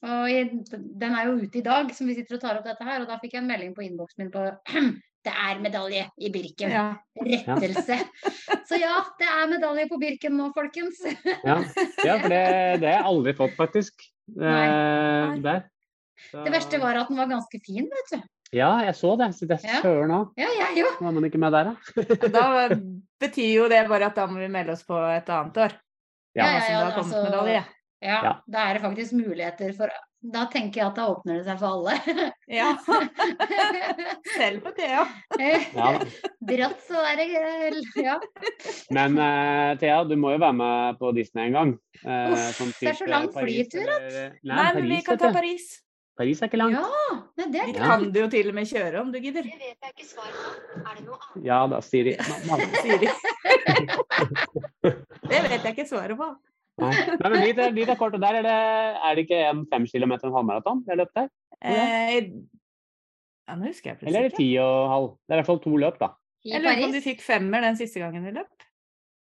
S2: Og i, den er jo ute i dag, som vi sitter og tar opp dette her. Og da fikk jeg en melding på innboksen min på *clears throat* det er medalje i Birken.
S4: *laughs* ja.
S2: Rettelse. Så ja, det er medalje på Birken nå, folkens.
S3: ja.
S2: *laughs*
S3: ja for det, det har jeg aldri fått, faktisk. Eh,
S4: Nei.
S3: Der. Så-
S2: Det verste var at den var ganske fin, vet du.
S3: Ja, jeg så det. Så det er
S2: Ja.
S3: søren òg.
S2: Ja, jeg jo.
S3: Var man ikke med der,
S2: *laughs*
S3: da?
S4: Da betyr jo det bare at da må vi melde oss på et annet år.
S2: Ja, ja,
S3: Ja.
S4: Som
S2: ja,
S4: det har kommet
S2: altså-
S4: medalje.
S2: Ja,
S3: Ja.
S2: da er det faktisk muligheter for Da tenker jeg at da åpner det seg for
S4: Ja, *laughs*
S2: alle.
S4: selv på Thea.
S2: *laughs*
S3: Ja da.
S2: Brått så er det eh, Ja.
S3: Men eh, Thea, du må jo være med på Disney en gang. Eh,
S2: Uff,
S3: sånn
S2: det er
S3: typ,
S2: så lang
S3: eh, Paris
S2: flytur,
S3: eller- Nei,
S4: Nei, men vi
S3: Paris,
S4: kan ta
S3: vet du.
S4: Paris.
S3: Paris er ikke lang.
S2: Ja, nei, det er
S4: Dit
S3: Ja.
S4: kan du jo til og med kjøre om du gidder.
S5: Det vet jeg ikke svar på. Er det noe annet?
S3: Ja da,
S2: *laughs*
S3: Siri. Nei, nei. *laughs*
S4: Siri. Det vet jeg ikke svaret på.
S3: Nei, men dit, er- dit er kort. Og der er det, er det ikke en fem kilometer og en halvmaraton jeg løp der?
S4: Eh, ja, nå husker jeg
S3: Eller
S4: plutselig
S3: er det
S4: ikke.
S3: ti og halv? Det er i hvert fall to løp, da.
S2: I
S4: Jeg lurer på om de
S2: Paris?
S4: fikk femmer den siste gangen vi løp.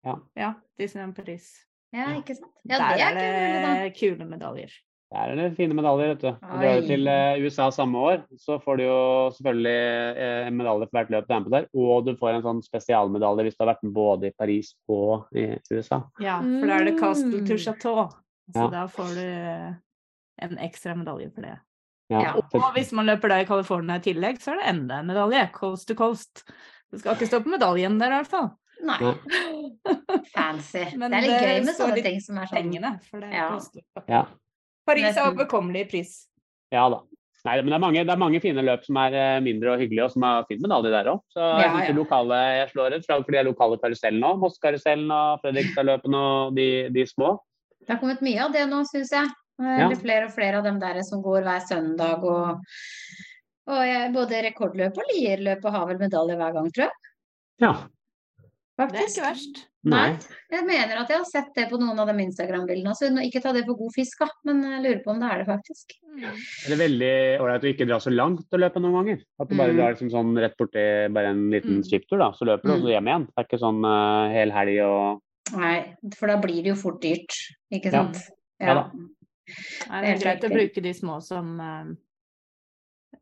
S3: Ja.
S4: Ja, Disneyland Paris.
S2: Ja,
S3: Ja.
S2: ikke sant? Ja,
S4: Der er
S2: det er kul, da.
S4: det kule medaljer.
S3: Der er det fine medaljer, vet du. Og Drar
S2: Oi.
S3: du til eh, USA samme år, så får du jo selvfølgelig eh, en medalje for hvert løp du er med på der. Og du får en sånn spesialmedalje hvis du har vært med både i Paris og i USA.
S4: Ja, for da er det Castle to
S2: Mm.
S4: Chateau. Så
S3: Ja.
S4: da får du eh, en ekstra medalje for det.
S2: Ja.
S4: Og hvis man løper da i California i tillegg, så er det enda en medalje. Coast to coast. Det skal ikke stå på medaljen der, i hvert fall.
S2: Nei,
S4: *laughs*
S2: fancy.
S4: Men
S2: det er litt
S4: det
S2: gøy med
S4: står
S2: sånne
S4: litt
S2: ting som er sånn.
S4: Pengene, for det
S2: Ja. sånn.
S4: koster.
S3: Ja.
S4: Paris er
S2: Nesten.
S4: overkommelig i pris.
S3: ja da. Nei, men det er, mange, det er mange fine løp som er eh, mindre og hyggelige, og som har fin medalje der òg. Så jeg
S2: Ja,
S3: synes de
S2: ja.
S3: lokale jeg slår et slag for de lokale karusellene òg. Mosskarusellen og Fredrikstadløpene og de, de små.
S2: Det har kommet mye av det nå, syns jeg. Eh,
S3: Ja.
S2: Det er flere og flere av dem der som går hver søndag og og jeg, både rekordløp og lierløp og har vel medalje hver gang, tror jeg.
S3: Ja.
S4: Det er
S2: Faktisk.
S4: ikke verst.
S3: Nei.
S2: Jeg mener at jeg har sett det på noen av de Instagram-bildene. Så nå- ikke ta det for god fisk, da, men jeg lurer på om det er det faktisk.
S3: Det er veldig ålreit å ikke dra så langt og løpe noen ganger. At du bare
S2: Mm.
S3: drar liksom sånn rett borti bare en liten
S4: Mm.
S3: skiptur, da. Så løper du, og så hjem igjen. Det er ikke sånn eh, hel helg og
S2: Nei, for da blir det jo fort dyrt, ikke
S3: Ja.
S2: sant?
S3: Ja da.
S4: Nei, det er
S2: Helt
S4: greit å
S2: riktig.
S4: bruke de små som eh,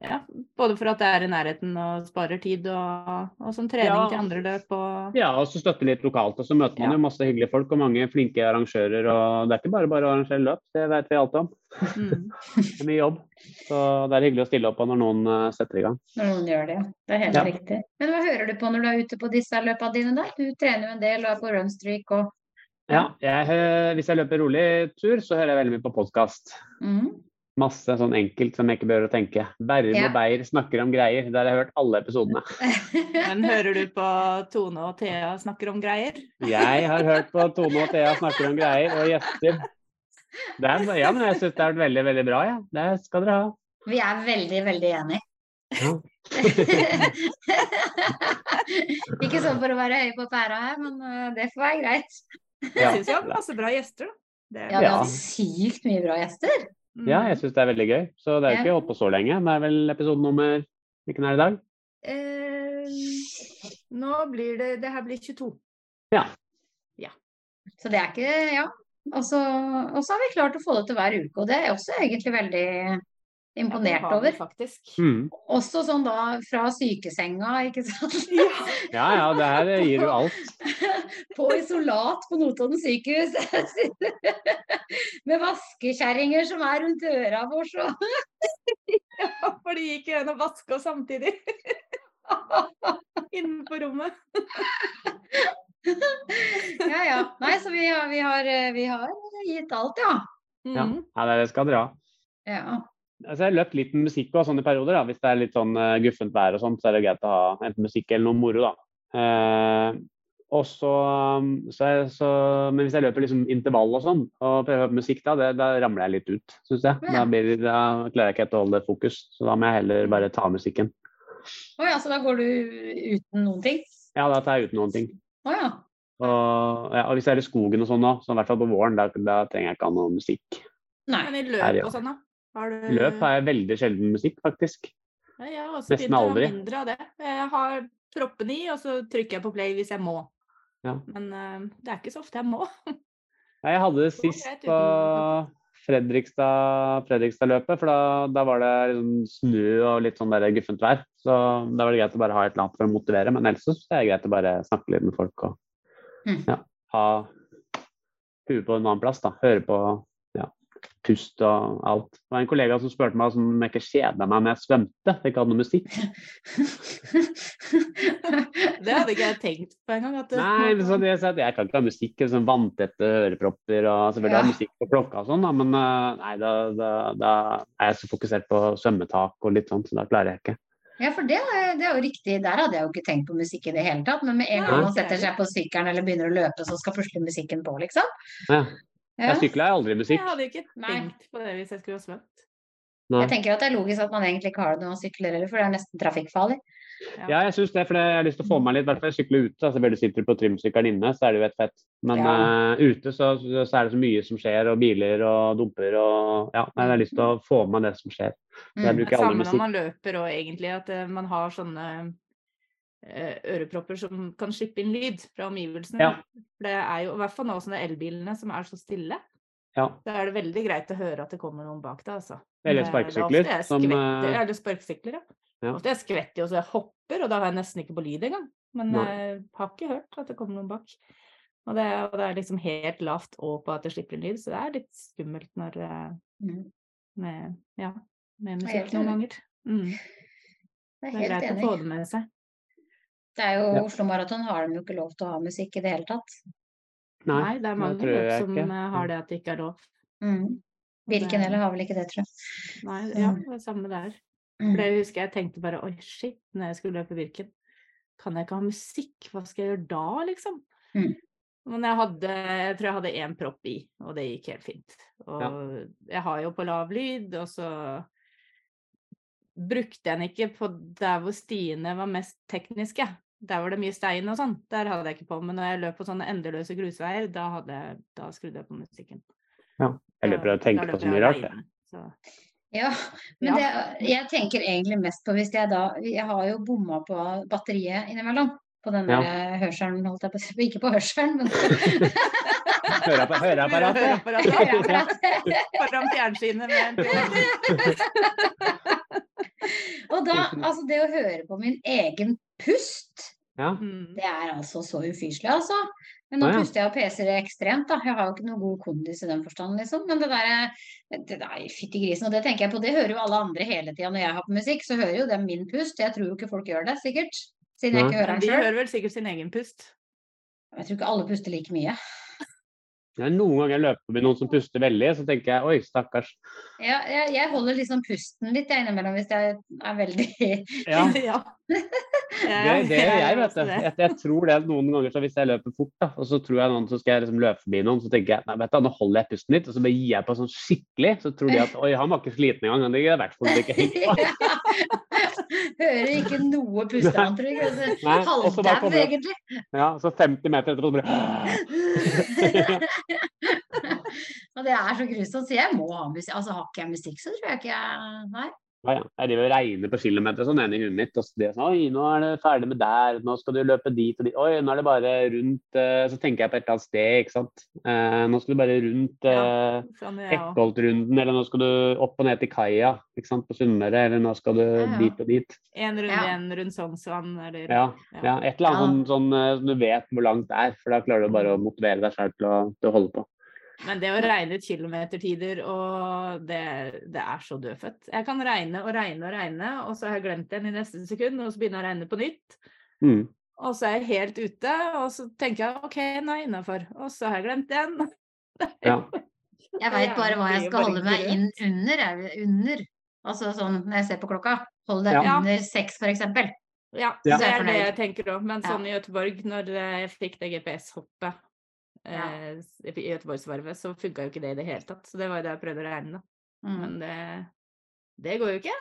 S4: ja, både for at det er i nærheten og sparer tid, og, og som trening
S3: Ja.
S4: til andre løp og
S3: Ja, og så støtte litt lokalt. Og så møter man
S4: Ja.
S3: jo masse hyggelige folk og mange flinke arrangører. Og det er ikke bare bare å arrangere løp, det vet vi alt om.
S4: *laughs* mm.
S3: *laughs* Det er mye jobb. Så det er hyggelig å stille opp på når noen eh, setter i gang.
S2: Når noen gjør det, ja. Det er helt
S3: Ja.
S2: riktig. Men hva hører du på når du er ute på disse løpene dine, da? Du trener jo en del og er på runstreak og
S3: Ja, jeg, hø- hvis jeg løper rolig tur, så hører jeg veldig mye på podkast.
S2: mm.
S3: Masse sånn enkelt som jeg ikke behøver å tenke. Bærum
S2: Ja.
S3: og Beyer snakker om greier. Der har jeg hørt alle episodene.
S4: Men hører du på Tone og Thea snakker om greier?
S3: Jeg har hørt på Tone og Thea snakker om greier, og gjester. Det er, ja, men jeg syns det har vært veldig, veldig bra, Ja. Det skal dere ha.
S2: *laughs* Vi er veldig, veldig enige. *laughs*
S3: Ja.
S2: Ikke sånn for å være høy på pæra her, men øh, det får være greit.
S3: Ja,
S4: Jeg syns vi har hatt masse bra gjester, da. Det er
S2: Ja, vi har
S3: Ja.
S2: hatt sykt mye bra gjester.
S4: Mm.
S3: ja jeg syns det er veldig gøy. Så det er jo ikke holdt på så lenge. Det er vel episode nummer Hvilken er det i dag?
S4: Eh, nå blir det Det her blir 22.
S2: Så det er ikke Ja. Og så og så har vi klart å få det til hver uke, og det er jeg også egentlig veldig
S4: det
S2: imponert
S4: har vi
S2: over.
S4: Faktisk. *laughs*
S3: Mm.
S2: Også sånn da fra sykesenga, ikke sant. *laughs*
S3: Ja ja, det her gir jo alt.
S2: på isolat på Notodden sykehus. *laughs* Med vaskekjerringer som er rundt øra vår, så
S4: For de gikk gjennom vaske og samtidig. *laughs* Innenfor rommet.
S2: Ja, ja. Nei, så vi har, vi har, eh, vi har gitt alt, ja.
S3: Ja,
S4: Mm.
S3: ja det skal dere ha.
S2: ja.
S3: Altså, jeg har løpt litt med musikk og sånn i perioder. da, Hvis det er litt sånn eh, guffent vær og sånt, så er det greit å ha enten musikk eller noe moro, da. Eh, og så, um, så, er- så Men hvis jeg løper liksom intervall og sånn, og prøver å høre på musikk da, det, da ramler jeg litt ut, syns jeg. Da,
S2: Ja.
S3: blir, da klarer jeg ikke helt å holde fokus, så da må jeg heller bare ta av musikken.
S2: Å ja, så da går du uten noen ting?
S3: Ja, da tar jeg ut noen ting.
S2: Å ja.
S3: Og, ja, og hvis jeg er i skogen og sånn da, så i hvert fall på våren, da, da trenger jeg ikke ha noe musikk.
S2: Nei.
S4: Men i
S3: Her,
S4: løp
S3: ja.
S4: og sånn, da? Har du
S3: Løp har jeg veldig sjelden musikk, faktisk.
S4: Nei, jeg har også begynt
S3: Nesten
S4: å ha
S3: aldri.
S4: mindre av det. Jeg har proppen i, og så trykker jeg på play hvis jeg må.
S3: Ja.
S4: Men eh, det er ikke så ofte jeg må. *laughs*
S3: Nei, Jeg hadde det
S4: går
S3: sist
S4: greit
S3: på Fredrikstad, Fredrikstad-løpet, for da, da var det liksom snø og litt sånn der guffent vær. Så da var det greit å bare ha et eller annet for å motivere, men ellers så synes jeg det er greit å bare snakke litt med folk og
S2: Mm.
S3: ja, ha huet på en annen plass, da. Høre på ja, pust og alt. Det var en kollega som spurte meg om jeg ikke kjeda meg når jeg svømte, jeg ikke hadde noe musikk.
S4: Det hadde ikke jeg tenkt på engang. at eh, det-
S3: Nei, men så det, så at jeg kan ikke ha musikk. eller Sånn vanntette ørepropper og selvfølgelig ha
S2: Ja.
S3: musikk på klokka og sånn, da, men eh, nei, da, da, da er jeg så fokusert på svømmetak og litt sånn, så da klarer jeg ikke.
S2: Ja, for det, er- det er jo riktig. Der hadde jeg jo ikke tenkt på musikk i det hele tatt. Men med en gang
S3: Nei.
S2: man setter seg på sykkelen eller begynner å løpe, så skal plutselig musikken på, liksom.
S3: Ja.
S2: Ja.
S3: Jeg sykler jo
S4: *laughs*
S3: aldri
S4: Jeg
S3: musikk.
S4: hadde ikke
S2: Nei.
S4: tenkt på det hvis jeg skulle ha svømt.
S3: Nei.
S2: Jeg tenker at det er logisk at man egentlig ikke har det når man sykler heller, for det er nesten trafikkfarlig.
S3: Ja, jeg syns det, for jeg har lyst til å få med meg litt, i hvert fall jeg sykler ute. Altså, Selvfølgelig sitter du på trimsykkelen inne, så er det jo et fett. Men eh, ute så, så så er det så mye som skjer, og biler og dumper og Ja, nei, jeg har lyst til å få med meg det som skjer. Så jeg
S2: Mm.
S3: bruker
S4: Det er
S3: alle
S4: samme når
S3: musikk.
S4: man løper òg, egentlig. At eh, man har sånne eh, ørepropper som kan slippe inn lyd fra omgivelsene.
S3: Ja.
S4: For det er jo, i hvert fall nå som det er elbilene som er så stille,
S3: Ja.
S4: så er det veldig greit å høre at det kommer noen bak deg, altså.
S3: Eller
S4: Det-
S3: sparkesykler,
S4: Det er ofte jeg
S3: som,
S4: skvetter,
S3: eh,
S4: eller sparkesykler, ja.
S3: ja.
S4: Ofte jeg skvetter jo så jeg hopper, og da har jeg nesten ikke på lyd engang. Men
S3: Nei.
S4: jeg har ikke hørt at det kommer noen bak. Og det, er- og det er liksom helt lavt og på at det slipper inn lyd, så det er litt skummelt når eh,
S2: Mm.
S4: med, ja, med
S2: Jeg er helt
S4: musikk noen ganger. Mm.
S2: Det
S4: Det er
S2: er helt
S4: greit å
S2: enig.
S4: få det med seg.
S2: Det er jo
S3: Ja.
S2: Oslo Maraton har de jo ikke lov til å ha musikk i det hele tatt.
S3: Nei,
S4: Nei, det er
S3: det
S4: mange
S3: tror
S4: folk
S3: jeg
S4: som
S3: ikke.
S4: eh, har det at det ikke er lov.
S2: Mm. Birken
S4: Det-
S2: eller Mm. har vel ikke det, tror jeg. Mm.
S4: Nei, ja, det er samme der.
S3: Mm.
S4: For det husker jeg tenkte bare oi, shit, når jeg skulle løpe Birken, kan jeg ikke ha musikk? Hva skal jeg gjøre da, liksom?
S2: Mm.
S4: Men jeg hadde, jeg tror jeg hadde én propp i, og det gikk helt fint. Og jeg har jo på lav lyd, og så brukte jeg den ikke på der hvor stiene var mest tekniske. Der var det mye stein og sånn. Der hadde jeg ikke på. Men når jeg løp på sånne endeløse grusveier, da, hadde, jeg- da skrudde jeg på musikken.
S3: Jeg løper og
S4: Da- da
S3: tenker på
S4: løper
S3: så mye
S4: jeg
S3: rart. jeg.
S4: alene, Så.
S2: Ja, men Det, jeg tenker egentlig mest på hvis jeg da Jeg har jo bomma på batteriet innimellom. På den
S3: Ja.
S2: der eh, hørselen, holdt jeg på å si. Ikke på hørselen, men *laughs*
S4: *laughs*
S3: Høreappa- Høreapparatet. *laughs*
S4: Høreapparatet. Foran fjernsynet med en privat.
S2: Og da, altså det å høre på min egen pust,
S3: Ja.
S4: Mm.
S2: det er altså så ufyselig, altså. Men nå
S3: Å, ja.
S2: puster jeg og peser ekstremt, da. Jeg har jo ikke noe god kondis i den forstand, liksom. Men det der, eh, det der fytti grisen, og det tenker jeg på, det hører jo alle andre hele tida når jeg har på musikk, så hører jo dem min pust. Jeg tror jo ikke folk gjør det, sikkert. Siden jeg
S3: Nei.
S2: ikke hører
S4: Men
S2: den
S4: de
S2: sjøl.
S4: hører vel sikkert sin egen pust.
S2: Jeg tror ikke alle puster like mye.
S3: Men Noen ganger løper jeg forbi noen som puster veldig, så tenker jeg oi, stakkars.
S2: Ja, jeg, jeg holder liksom pusten litt jeg innimellom hvis jeg er
S3: *laughs*
S2: veldig *laughs*
S3: Ja,
S4: *laughs* ja.
S3: det, det gjør
S4: *laughs*
S3: jeg, vet du.
S4: også det.
S3: Jeg, jeg tror det noen ganger, så hvis jeg løper fort, da, og så tror jeg noen så skal jeg liksom løpe forbi noen, så tenker jeg nei, vet du, nå holder jeg pusten litt, og så bare gir jeg på sånn skikkelig, så tror de at oi, han var ikke sliten engang, men det er i hvert fall ikke helt bra.
S2: Hører ikke noe pusteantrykk.
S3: Nei, og så
S2: Halvdau,
S3: bare kommer-
S2: egentlig.
S3: Ja, så 50 meter etterpå så bare
S2: og det er så grusomt. Så jeg må ha musikk. Altså, har ikke jeg musikk, så tror jeg ikke jeg Nei.
S3: Ja, ja. Jeg driver og regner på kilometer og sånn inni huet mitt. Og så det er sånn, Oi, nå er det ferdig med der, nå skal du løpe dit og dit. Oi, nå er det bare rundt eh, Så tenker jeg på et eller annet sted, ikke sant. Eh, nå skal du bare rundt eh,
S4: Sånn er jeg også.
S3: Eckholtrunden, eller nå skal du opp og ned til kaia ikke sant, på Sunnmøre, eller nå skal du
S2: ja.
S3: dit og dit.
S4: En runde
S2: Ja.
S4: igjen rundt Sognsvann, eller
S3: Ja, ja et eller annet
S2: Ja.
S3: sånn, sånn eh, som du vet hvor langt det er, for da klarer du bare å motivere deg selv til å, til å holde på.
S4: Men det å regne ut kilometertider, og det, det er så dødfødt. Jeg kan regne og regne og regne, og så har jeg glemt den i neste sekund, og så begynner jeg å regne på nytt.
S3: Mm.
S4: Og så er jeg helt ute, og så tenker jeg OK, nå er jeg innafor. Og så har jeg glemt den.
S3: Ja.
S2: Jeg veit bare hva
S4: Det er
S2: jeg skal
S4: bare
S2: holde meg inn under. jeg. Under. Altså sånn når jeg ser på klokka. Hold deg
S4: Ja.
S2: under seks, for eksempel.
S4: Ja,
S3: Ja.
S4: det er det
S2: Fornøyd.
S4: jeg tenker òg. Men
S2: Ja.
S4: sånn i Göteborg, når eh, jeg fikk det GPS-hoppet
S2: Ja.
S4: eh, i Göteborgsvarvet, så funka jo ikke det i det hele tatt. Så det var jo det jeg prøvde å regne, da.
S2: Mm.
S4: Men det, det går jo ikke.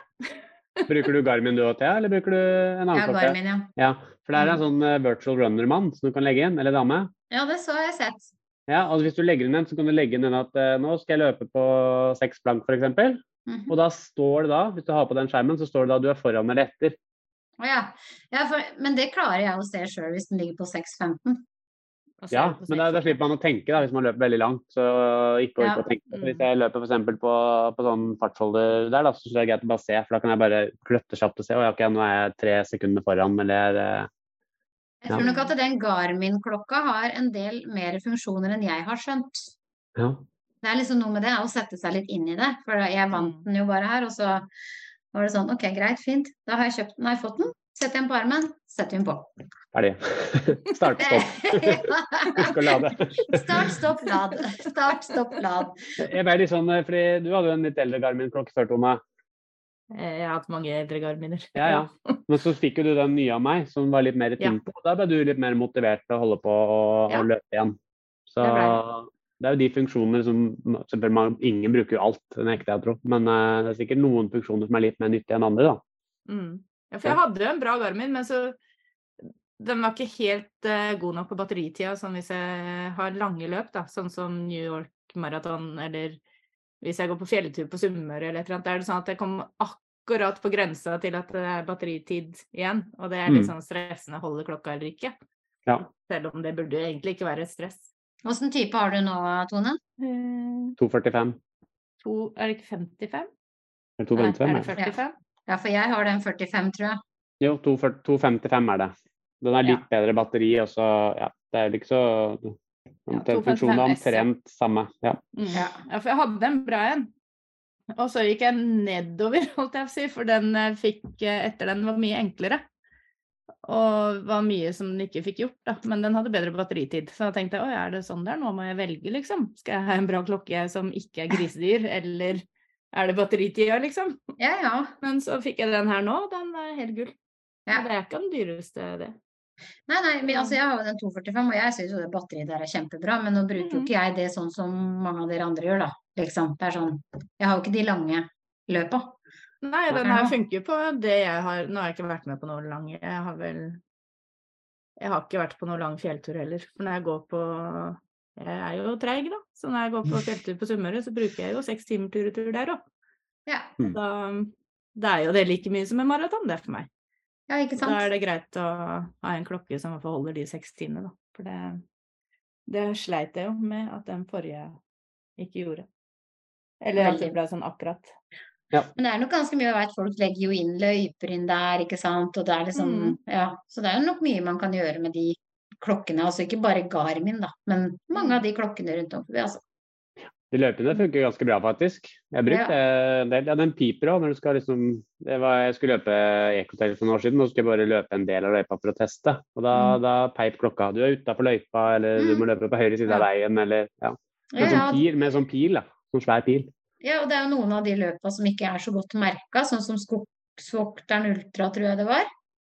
S3: Bruker du Garmin du og Thea, eller bruker du en annen
S2: Ja,
S3: klokke?
S2: Garmin, Mm. ja.
S3: Ja, for det er en sånn eh, virtual runner-mann som du kan legge inn, eller dame.
S2: Ja, det så har jeg sett.
S3: Ja, altså Hvis du legger inn en, så kan du legge inn en at eh, nå skal jeg løpe på seks blank f.eks.
S2: Mhm.
S3: Og da står det da, hvis du har på den skjermen, så står det da du er foran eller etter.
S2: Å ja. ja for, men det klarer jeg å se sjøl hvis den ligger på 6.15.
S4: Og så
S3: Ja,
S4: er det på
S3: men da, da
S4: seks.
S3: slipper man å tenke da, hvis man løper veldig langt. så ikke orker
S2: altså, Ja.
S3: å tenke.
S4: Mm.
S3: Hvis jeg løper for eksempel på, på sånn fartsholder der, da, så synes jeg det er greit å bare se. For da kan jeg bare kløtte kjapt og se. Å ja, ok, nå er jeg tre sekunder foran, eller eh,
S2: Jeg
S3: Ja.
S2: tror nok at den Garmin-klokka har en del mer funksjoner enn jeg har skjønt.
S3: ja.
S2: Det er liksom noe med det, å sette seg litt inn i det. For jeg vant den jo bare her, og så var det sånn OK, greit, fint. Da har jeg kjøpt den, har jeg fått den. Setter jeg den på armen, setter hun på. *laughs*
S3: Ferdig. Start, stopp. Husk å lade.
S2: Start, stopp, lad. Start, stopp, lad.
S3: Jeg ble litt sånn, eh, fordi du hadde jo en litt eldre Garmin-klokke før, Tone.
S4: Eh, Jeg har hatt mange eldre garminer.
S3: Ja, ja. Men så fikk jo du den nye av meg, som var litt mer i
S4: Ja.
S3: tempo. og Da ble du litt mer motivert til å holde på og,
S4: Ja.
S3: og løpe igjen. Så
S4: Det
S3: det,
S4: ble
S3: er jo de funksjoner som selvfølgelig man, Ingen bruker jo alt, det nekter jeg å tro. Men eh, det er sikkert noen funksjoner som er litt mer nyttige enn andre, da.
S4: Mm. Ja, for jeg hadde jo en bra Garmin, men så den var ikke helt eh, god nok på batteritida, sånn hvis jeg har lange løp, da, sånn som New York Marathon, eller hvis jeg går på fjelltur på Sunnmøre eller et eller annet, da er det sånn at jeg kom akkurat på grensa til at det er batteritid igjen, og det er litt
S3: Mm.
S4: sånn stressende, holder klokka eller ikke.
S3: Ja.
S4: Selv om det burde jo egentlig ikke være et stress.
S2: Åssen type har du nå, Tone?
S4: Eh,
S3: 2,45.
S4: To, er det ikke 55?
S3: Eller
S4: Nei, er
S3: 2,55?
S4: det
S3: er det.
S4: 45?
S2: Ja, for jeg har den 45, tror jeg.
S3: Jo, 2,40 2,55 er det. Den er
S4: Ja.
S3: litt bedre batteri, og så ja, det er vel ikke så Omtrent funksjonen er
S4: 255 S, ja.
S3: omtrent samme. Ja.
S4: Mm.
S2: Ja.
S4: Ja. for jeg hadde en bra en. Og så gikk jeg nedover, *laughs* holdt jeg på å si, for den eh, fikk eh, etter den var mye enklere. Og var mye som den ikke fikk gjort, da. Men den hadde bedre batteritid. Så da tenkte jeg å, er det sånn der, nå må jeg velge, liksom. Skal jeg ha en bra klokke som ikke er grisedyr, eller er det batteritida, liksom?
S2: Ja, ja.
S4: Men så fikk jeg den her nå, og den er helt gull.
S2: Ja.
S4: Og Det er ikke den dyreste, det.
S2: Nei, nei, men altså jeg har jo den 245, og jeg syns jo det batteriet der er kjempebra, men nå bruker jo
S4: Mhm.
S2: ikke jeg det sånn som mange av dere andre gjør, da. Liksom. Det er sånn Jeg har jo ikke de lange løpa.
S4: Nei,
S3: Nei.
S4: den her funker på det jeg har Nå har jeg ikke vært med på noe lang Jeg har vel Jeg har ikke vært på noe lang fjelltur heller. For når jeg går på Jeg er jo treig, da. Så når jeg går
S2: *laughs*
S4: på fjelltur på Sunnmøre, så bruker jeg jo seks timer tur-retur der òg.
S2: Ja.
S3: Mm.
S4: Da det er jo det like mye som en maraton, det for meg.
S2: ja, ikke
S4: Så Da er
S2: sant?
S4: det greit å ha en klokke som i hvert fall holder de seks timene, da. For det, det sleit jeg jo med at den forrige ikke gjorde. Eller at det
S2: Veldig.
S4: ble sånn akkurat.
S3: Ja.
S2: Men det er nok ganske mye jeg vet folk legger jo inn løyper inn der, ikke sant. Og det er liksom,
S4: Mm.
S2: ja. Så det er jo nok mye man kan gjøre med de klokkene. Altså ikke bare Garmin, da, men mange av de klokkene rundt omkring. Altså.
S3: De løpene funker ganske bra, faktisk. Jeg har brukt
S2: Ja.
S3: eh, en del. Ja, den piper òg når du skal liksom det var, Jeg skulle løpe Ecotel for noen år siden, og så skulle jeg bare løpe en del av løypa for å teste. Og da, da peip klokka. Du er utafor løypa, eller du
S2: Mm.
S3: må løpe på høyre side av veien, eller ja. Med
S2: Ja, ja,
S3: sånn pil, med sånn pil, da. Sånn svær pil.
S2: *laughs* Ja, og det er jo noen av de løpa som ikke er så godt merka, sånn som Skogsvokteren Ultra, tror jeg det var.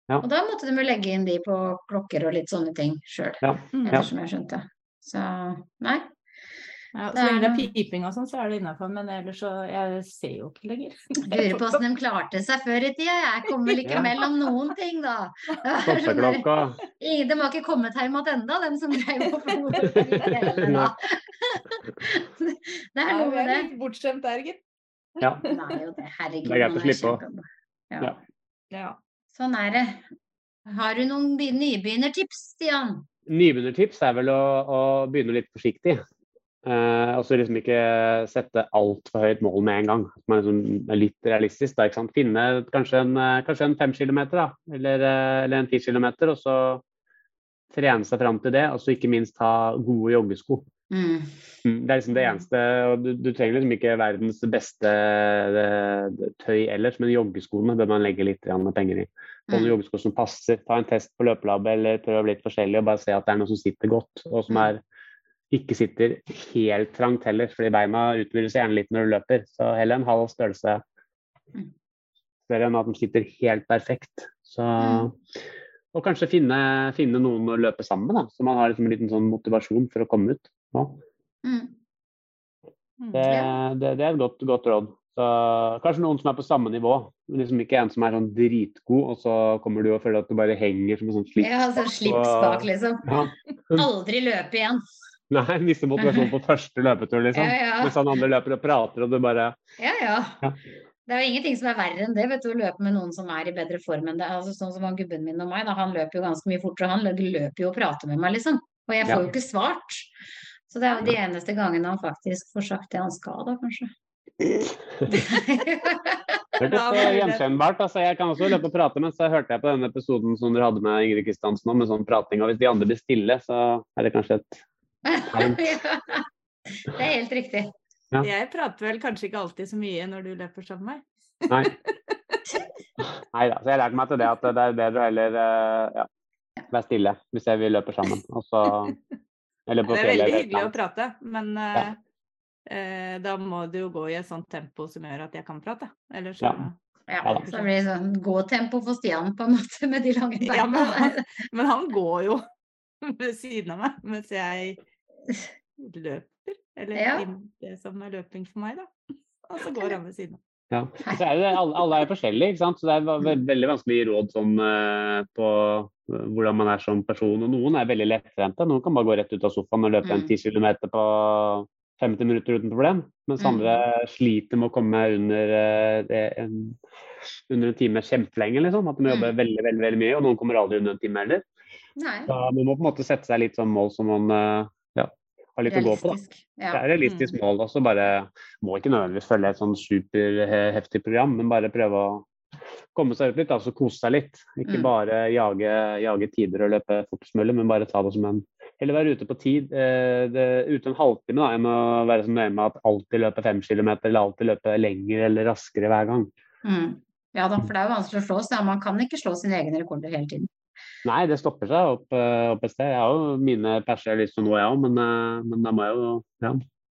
S3: Ja.
S2: Og da måtte de jo legge inn de på klokker og litt sånne ting sjøl,
S4: Mm.
S3: Ja.
S2: ettersom jeg skjønte. Så nei.
S4: Ja,
S2: Det
S4: så lenge det
S2: er
S4: er piping og sånn, så er det innafor. Men ellers så Jeg ser jo ikke
S2: *laughs*
S4: lenger.
S2: Lurer på
S4: *laughs*
S2: åssen de klarte seg før i tida. Jeg kommer ikke
S3: Ja.
S2: mellom noen ting, da.
S3: Klokka.
S2: Ingen, de har ikke kommet hjem igjen ennå, dem som drev og forlot. Det er
S4: Ja,
S2: noe
S4: vi
S2: med
S4: er
S2: det.
S4: litt bortskjemt der, gitt.
S3: Ja.
S2: Det er jo det. Herregud.
S3: Det er greit
S2: man
S3: å slippe å-
S2: kjempe-
S3: Ja.
S2: Ja.
S4: Ja.
S2: Sånn er det. Har du noen be- nybegynnertips, Stian?
S3: Nybegynnertips er vel å, å begynne litt forsiktig. Eh, og så liksom ikke sette altfor høyt mål med en gang. At Man liksom er litt realistisk. Da, ikke sant? Finne kanskje en, eh, kanskje en fem kilometer, da, eller, eh, eller en ti kilometer, og så trene seg fram til det. Og så ikke minst ha gode joggesko.
S2: Mm.
S3: Mm, Det er liksom det eneste. og Du, du trenger liksom ikke verdens beste eh, tøy ellers, men joggeskoene bør man legge litt grann penger i. Sånne
S2: Mm.
S3: joggesko som passer. Ta en test på løpelabbet eller prøv litt forskjellig og bare se at det er noe som sitter godt, og som
S2: Mm.
S3: er, ikke sitter helt trangt heller, fordi beina utvider seg gjerne litt når du løper. Så heller en halv størrelse
S2: Mm.
S3: større enn at den sitter helt perfekt. Så,
S2: Mm.
S3: og kanskje finne, finne noen å løpe sammen med, da, så man har liksom en liten sånn motivasjon for å komme ut. nå.
S2: Mm.
S4: Mm.
S3: Det, det, det er et godt, godt råd. Så, kanskje noen som er på samme nivå. men Liksom ikke en som er sånn dritgod, og så kommer du og føler at du bare henger som en sånn slipp.
S2: Ja, altså slips bak, liksom.
S3: Ja.
S2: Aldri løpe igjen.
S3: Nei, mister motivasjonen sånn på første løpetur,
S2: Ja,
S3: liksom.
S2: ja.
S3: Mens han andre løper og prater, og du bare
S2: ja, ja.
S3: Ja.
S2: Det er jo ingenting som er verre enn det, vet du, å løpe med noen som er i bedre form enn deg. Altså, sånn som han gubben min og meg, da, han løper jo ganske mye fortere, og han lø- løper jo og prater med meg, liksom. Og jeg får
S3: Ja.
S2: jo ikke svart. Så det er jo de eneste gangene han faktisk får sagt det han skal, da,
S3: *laughs*
S2: kanskje.
S3: Hørtes
S4: Ja, men-
S3: gjenkjennbart. Altså, jeg kan også løpe og prate, men så hørte jeg på denne episoden som dere hadde med Ingrid Kristiansen om, med sånn prating. Og hvis de andre blir stille, så er det kanskje et
S2: ja. Det er helt riktig.
S3: Ja.
S4: Jeg prater vel kanskje ikke alltid så mye når du løper sammen med meg.
S3: Nei. Nei da. Så jeg lærte meg til det at det er bedre å heller eh, ja, være stille hvis jeg vil løpe sammen. Og så
S4: *laughs*
S3: Eller på
S4: Det er
S3: fjellet.
S4: veldig
S3: eller et
S4: hyggelig
S3: eller
S4: å
S3: annet.
S4: prate, men eh, eh, da må det jo gå i et sånt tempo som gjør at jeg kan prate. Ellers så
S3: Ja.
S2: Ja,
S3: Ja da.
S2: så det blir sånn gåtempo for Stian på en måte med de lange beina.
S4: Ja, men han, *laughs* men han går jo *laughs* ved siden av meg mens jeg løper. Eller
S2: Ja.
S4: inn- det som er løping for meg, da. Og så går han ved siden av.
S3: Ja. Så er det, alle, alle er forskjellige, ikke sant? så det er ve-
S2: Mm.
S3: ve- veldig vanskelig å gi råd sånn, eh, på eh, hvordan man er som person. Og noen er veldig lettrente. Noen kan bare gå rett ut av sofaen og løpe en
S2: Mm.
S3: 10 km på 50 minutter uten problem. Mens
S2: Mm.
S3: andre sliter med å komme under, eh, det- en, under en time kjempelenge. Liksom. At de må jobbe
S2: Mm.
S3: veldig, veldig, veldig mye. Og noen kommer aldri under en time heller.
S2: *laughs* Nei,
S3: Så man må på en måte sette seg litt sånn mål som man eh, ja, har litt å gå på. da.
S2: realistisk.
S3: Det
S2: Ja. Mm.
S3: er et realistisk mål. Og så bare må ikke nødvendigvis følge et sånn superheftig program, men bare prøve å komme seg ut litt, altså kose seg litt. Ikke
S2: Mm.
S3: bare jage, jage tider og løpe fortest mulig, men bare ta det som en Eller være ute på tid, eh, det, ute en halvtime da, enn å være så nøye med at alltid løpe fem kilometer, eller alltid løpe lenger eller raskere hver gang.
S2: Mm. Ja da, for det er jo vanskelig å slå, så man kan ikke slå sine egne rekorder hele tiden.
S3: Nei, det stopper seg opp, eh, opp et sted. Jeg har jo mine perser jeg har lyst til å nå, jeg òg, men, eh, men da må jeg jo ja,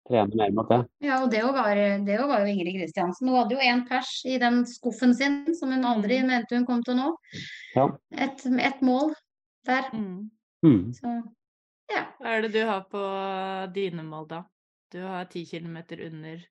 S3: trene mer mot det.
S2: Ja, og det jo var, det jo var jo Ingrid Kristiansen. Hun hadde jo en pers i den skuffen sin som hun aldri mente hun kom til å nå.
S3: Mm. Ja.
S2: Et, et mål der.
S4: Mm.
S3: Mm.
S2: Så
S4: Hva er det du har på dine mål, da? Du har 10 km under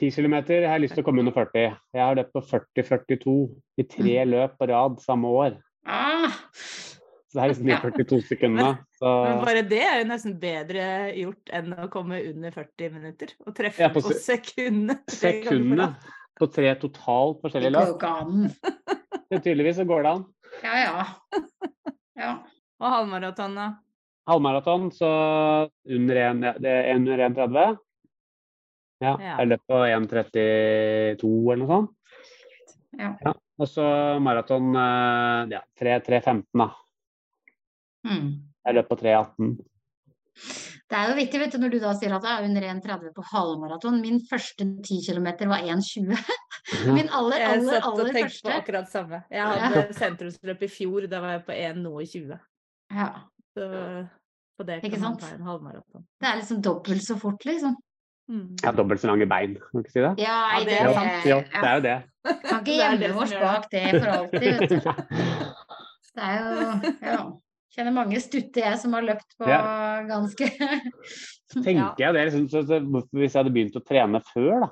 S3: 10 km jeg har lyst til å komme under 40. Jeg har løpt på 40-42 i tre
S4: Mm.
S3: løp på rad samme år.
S2: ah!
S3: Så det er
S4: *laughs*
S3: liksom de
S2: Ja.
S3: 42 sekundene. Så
S4: Men bare det er jo nesten bedre gjort enn å komme under 40 minutter. Og treffe
S3: Ja,
S4: på
S3: på se-
S4: sekundene. tre ganger på
S3: sekundene
S4: rad.
S3: på tre totalt
S2: Det
S3: forskjellige
S2: går jo
S3: løp.
S2: ikke an.
S3: Så tydeligvis så går det an.
S2: Ja, ja. Ja.
S4: Og halvmaraton, da.
S3: Halvmaraton så under 1,30. Ja,
S4: Ja.
S3: jeg løp på 1,32 eller noe sånt.
S2: Ja.
S3: Og så maraton eh, ja, 3.3,15, da.
S2: Mm.
S3: Jeg løp på 3,18.
S2: Det er jo vittig vet du, når du da sier at det er under 1,30 på halvmaraton. Min første 10 km var 1,20.
S3: Mm.
S2: Min aller,
S4: Jeg
S2: aller,
S4: satt og
S2: aller
S4: tenkte på
S2: første.
S4: akkurat samme. Jeg hadde sentrumsløp i fjor, da var jeg på 1,20.
S2: Ja,
S4: Så på det
S2: Ikke
S4: kan man
S2: sant?
S4: ta en halvmaraton.
S2: det er liksom dobbelt så fort, liksom.
S4: Mm.
S3: Jeg har dobbelt så lange bein, kan du ikke si det?
S2: Ja, nei,
S4: det
S2: det,
S4: er
S3: Jo,
S4: sant.
S3: jo,
S2: ja.
S3: det er jo det.
S2: Kan ikke
S4: Det er det
S2: gjemme
S4: som
S2: oss
S4: gjør *laughs* det.
S2: bak det for alltid, vet du. Det er
S4: *laughs*
S2: jo Ja. Kjenner mange stutte jeg som har løpt på ganske *laughs*
S3: Tenker jeg det, liksom, så, så, hvorfor- Hvis jeg hadde begynt å trene før, da,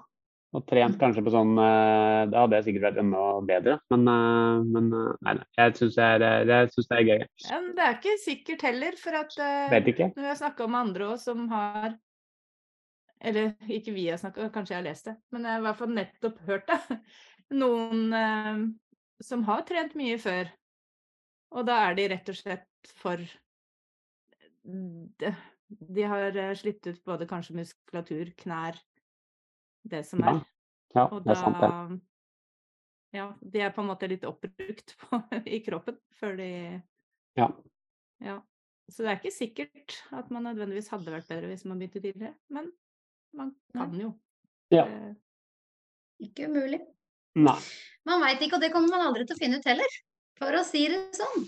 S3: og
S4: Mm.
S3: trent kanskje på sånn eh, Da hadde jeg sikkert vært enda bedre, men, eh, men eh, nei, nei, jeg syns det, er- det, jeg synes det er gøy.
S4: Ja, men det er ikke sikkert heller, for at eh,
S3: Vet ikke.
S4: når vi har snakka med andre òg som har Eller ikke vi har snakka, kanskje jeg har lest det, men jeg har i hvert fall nettopp hørt det. *laughs* Noen eh, som har trent mye før, og da er de rett og slett for De, de har eh, slitt ut både kanskje muskulatur, knær, det som
S3: Ja,
S4: er.
S3: Ja,
S4: Og
S3: det er sant, det.
S4: da Ja, de er på en måte litt oppbrukt *laughs* på, i kroppen før de
S3: Ja.
S4: ja. Så det er ikke sikkert at man nødvendigvis hadde vært bedre hvis man begynte tidligere, men man kan jo.
S3: Ja.
S4: Eh,
S2: Ikke umulig.
S3: Nei.
S2: Man veit ikke, og det kommer man aldri til å finne ut heller. For å si det sånn.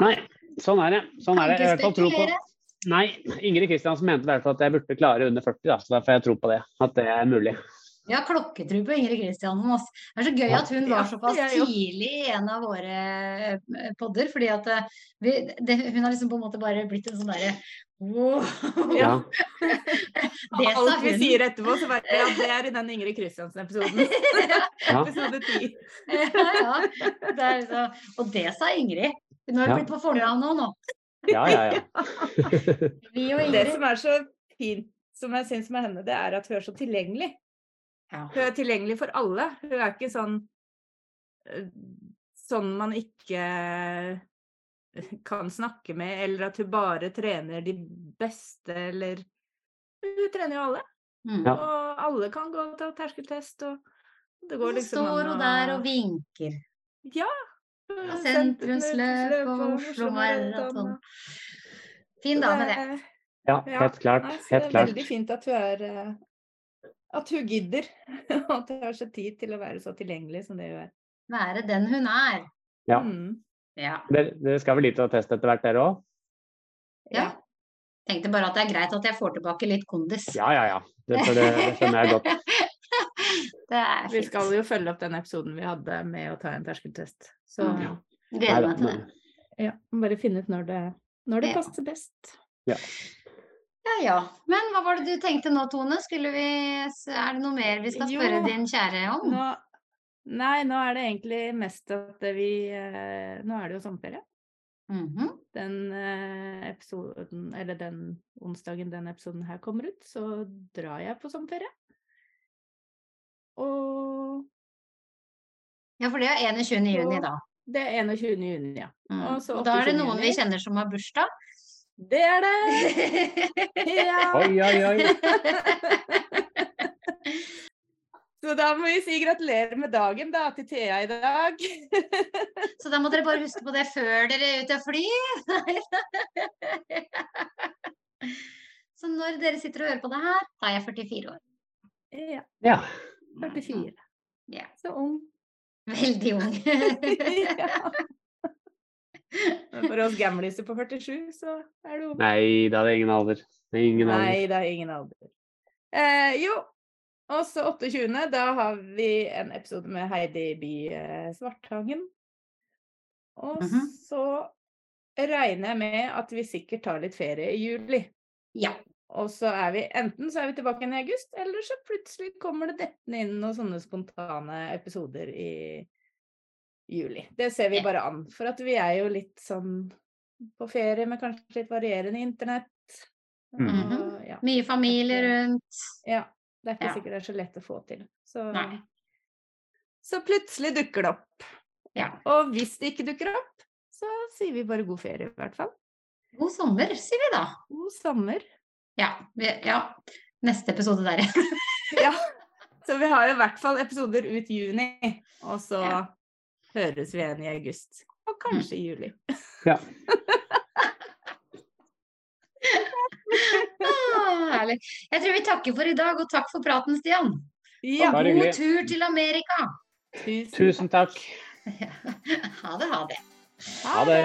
S3: nei. Sånn er det. Sånn er det. Jeg har i hvert fall tro på
S2: spekulere.
S3: Nei, Ingrid Kristiansen mente derfor at jeg burde klare under 40, da, så derfor har jeg tro på det. At det er mulig.
S2: Ja, klokketro på Ingrid Kristiansen. ass. Det er så gøy
S3: Ja.
S2: at hun var
S4: Ja,
S2: såpass
S4: jeg jo.
S2: tidlig i en av våre eh, podder. fordi at eh, vi, det, hun har liksom på en måte bare blitt en sånn derre
S4: *laughs*
S2: wow.
S3: *laughs*
S2: *laughs*
S3: Ja.
S2: Det sa
S4: Alt vi
S2: hun.
S4: sier etterpå, så bare Ja, det er i den Ingrid Kristiansen-episoden.
S3: Ja.
S4: *laughs* Episode 10.
S2: ja, ja. Det er liksom, og det sa Ingrid. Hun har
S3: Ja.
S2: blitt på fornavn nå, nå.
S3: Ja, ja, ja.
S4: *laughs*
S2: Vi og
S4: Det
S2: Ingrid.
S4: som er så fint som jeg syns med henne, det er at hun er så tilgjengelig.
S2: Ja.
S4: Hun er tilgjengelig for alle. Hun er ikke sånn eh, Sånn man ikke eh, kan snakke med, eller at hun bare trener de beste, eller Hun trener jo alle.
S2: Mm.
S3: Ja.
S4: Og alle kan gå til terskeltest, og det går
S2: Så
S4: liksom
S2: står hun der og vinker.
S4: Ja.
S2: Og
S4: sent-
S2: Sentrumsløp og Oslo Maraton. Fin
S4: Så
S2: dame, det.
S4: er-
S3: *laughs* ja
S4: Ja.
S3: helt klart.
S4: Nei, så
S3: Helt
S4: Det er
S3: klart.
S4: veldig fint at hun er eh, At hun gidder. *laughs* Og at hun har så tid til å være så tilgjengelig som det hun er.
S2: Være den hun er.
S3: Ja.
S4: Mm.
S2: Ja.
S3: Dere, dere skal vel dit og teste etter hvert, dere òg?
S2: ja. Tenkte bare at det er greit at jeg får tilbake litt kondis.
S3: Ja, ja, ja. Det, for det, det skjønner jeg godt.
S2: *laughs* Det er
S4: Vi
S2: fint.
S4: skal jo følge opp den episoden vi hadde med å ta en terskeltest. Så
S2: Mm.
S4: ja,
S2: Gleder meg til det.
S4: må bare finne ut når det, når det
S2: Ja.
S4: passer best.
S2: Ja, ja. Men hva var det du tenkte nå, Tone? Skulle vi, er det noe mer vi skal spørre
S4: Jo.
S2: din kjære om?
S4: Nå, nei, nå er det egentlig mest at vi eh, Nå er det jo sommerferie.
S2: Mhm.
S4: den eh, episoden, eller den onsdagen den episoden her kommer ut, så drar jeg på sommerferie. Og
S2: Ja, for det er 21. juni, da.
S4: det er 21. juni, ja.
S2: Mm.
S4: Og så
S2: Og da er det
S4: 28.
S2: noen vi
S4: juni.
S2: kjenner som har bursdag.
S4: Det er det! Ja. *laughs*
S3: *laughs* Oi, oi, oi.
S4: Så da må vi si gratulerer med dagen da, til Thea i dag.
S2: Så da må dere bare huske på det før dere er ute og flyr. *laughs* Så når dere sitter og hører på det her, da er jeg 44 år.
S4: ja, *laughs*
S3: Ja.
S4: 44.
S2: Ja.
S4: Så ung.
S2: Veldig ung.
S4: *laughs* ja. Men For oss gamliser på 47, så er det jo
S3: Nei, da er det ingen alder. Det er ingen alder.
S4: Nei, det er ingen alder. Eh, jo, og så 28. Da har vi en episode med Heidi By eh, Svarthangen. Og
S2: Mhm.
S4: så regner jeg med at vi sikkert tar litt ferie i juli.
S2: Ja.
S4: Og så er vi enten så er vi tilbake igjen i august, eller så plutselig kommer det dettende inn noen sånne spontane episoder i juli. Det ser vi
S2: Ja.
S4: bare an. For at vi er jo litt sånn på ferie med kanskje litt varierende internett.
S2: Mhm.
S4: Og, ja.
S2: Mye familie rundt.
S4: Ja. Det er ikke
S2: Ja.
S4: sikkert det er så lett å få til. Så,
S2: Nei.
S4: så plutselig dukker det opp.
S2: Ja.
S4: Og hvis det ikke dukker opp, så sier vi bare god ferie, i hvert fall.
S2: God sommer, sier vi da.
S4: God sommer. *laughs*
S2: Ja. Vi, ja. Neste episode der, *laughs* ja.
S4: Så vi har i hvert fall episoder ut juni, og så
S2: Ja. Mm.
S4: høres vi igjen i august. Og kanskje i juli.
S2: Ah, herlig. Jeg tror vi takker for i dag, og takk for praten, Stian.
S4: Ja,
S3: Bare
S2: God
S3: hyggelig.
S2: tur til Amerika! *laughs*
S4: tusen
S3: Tusen takk.
S2: Ha det, ha det.
S3: Ha det.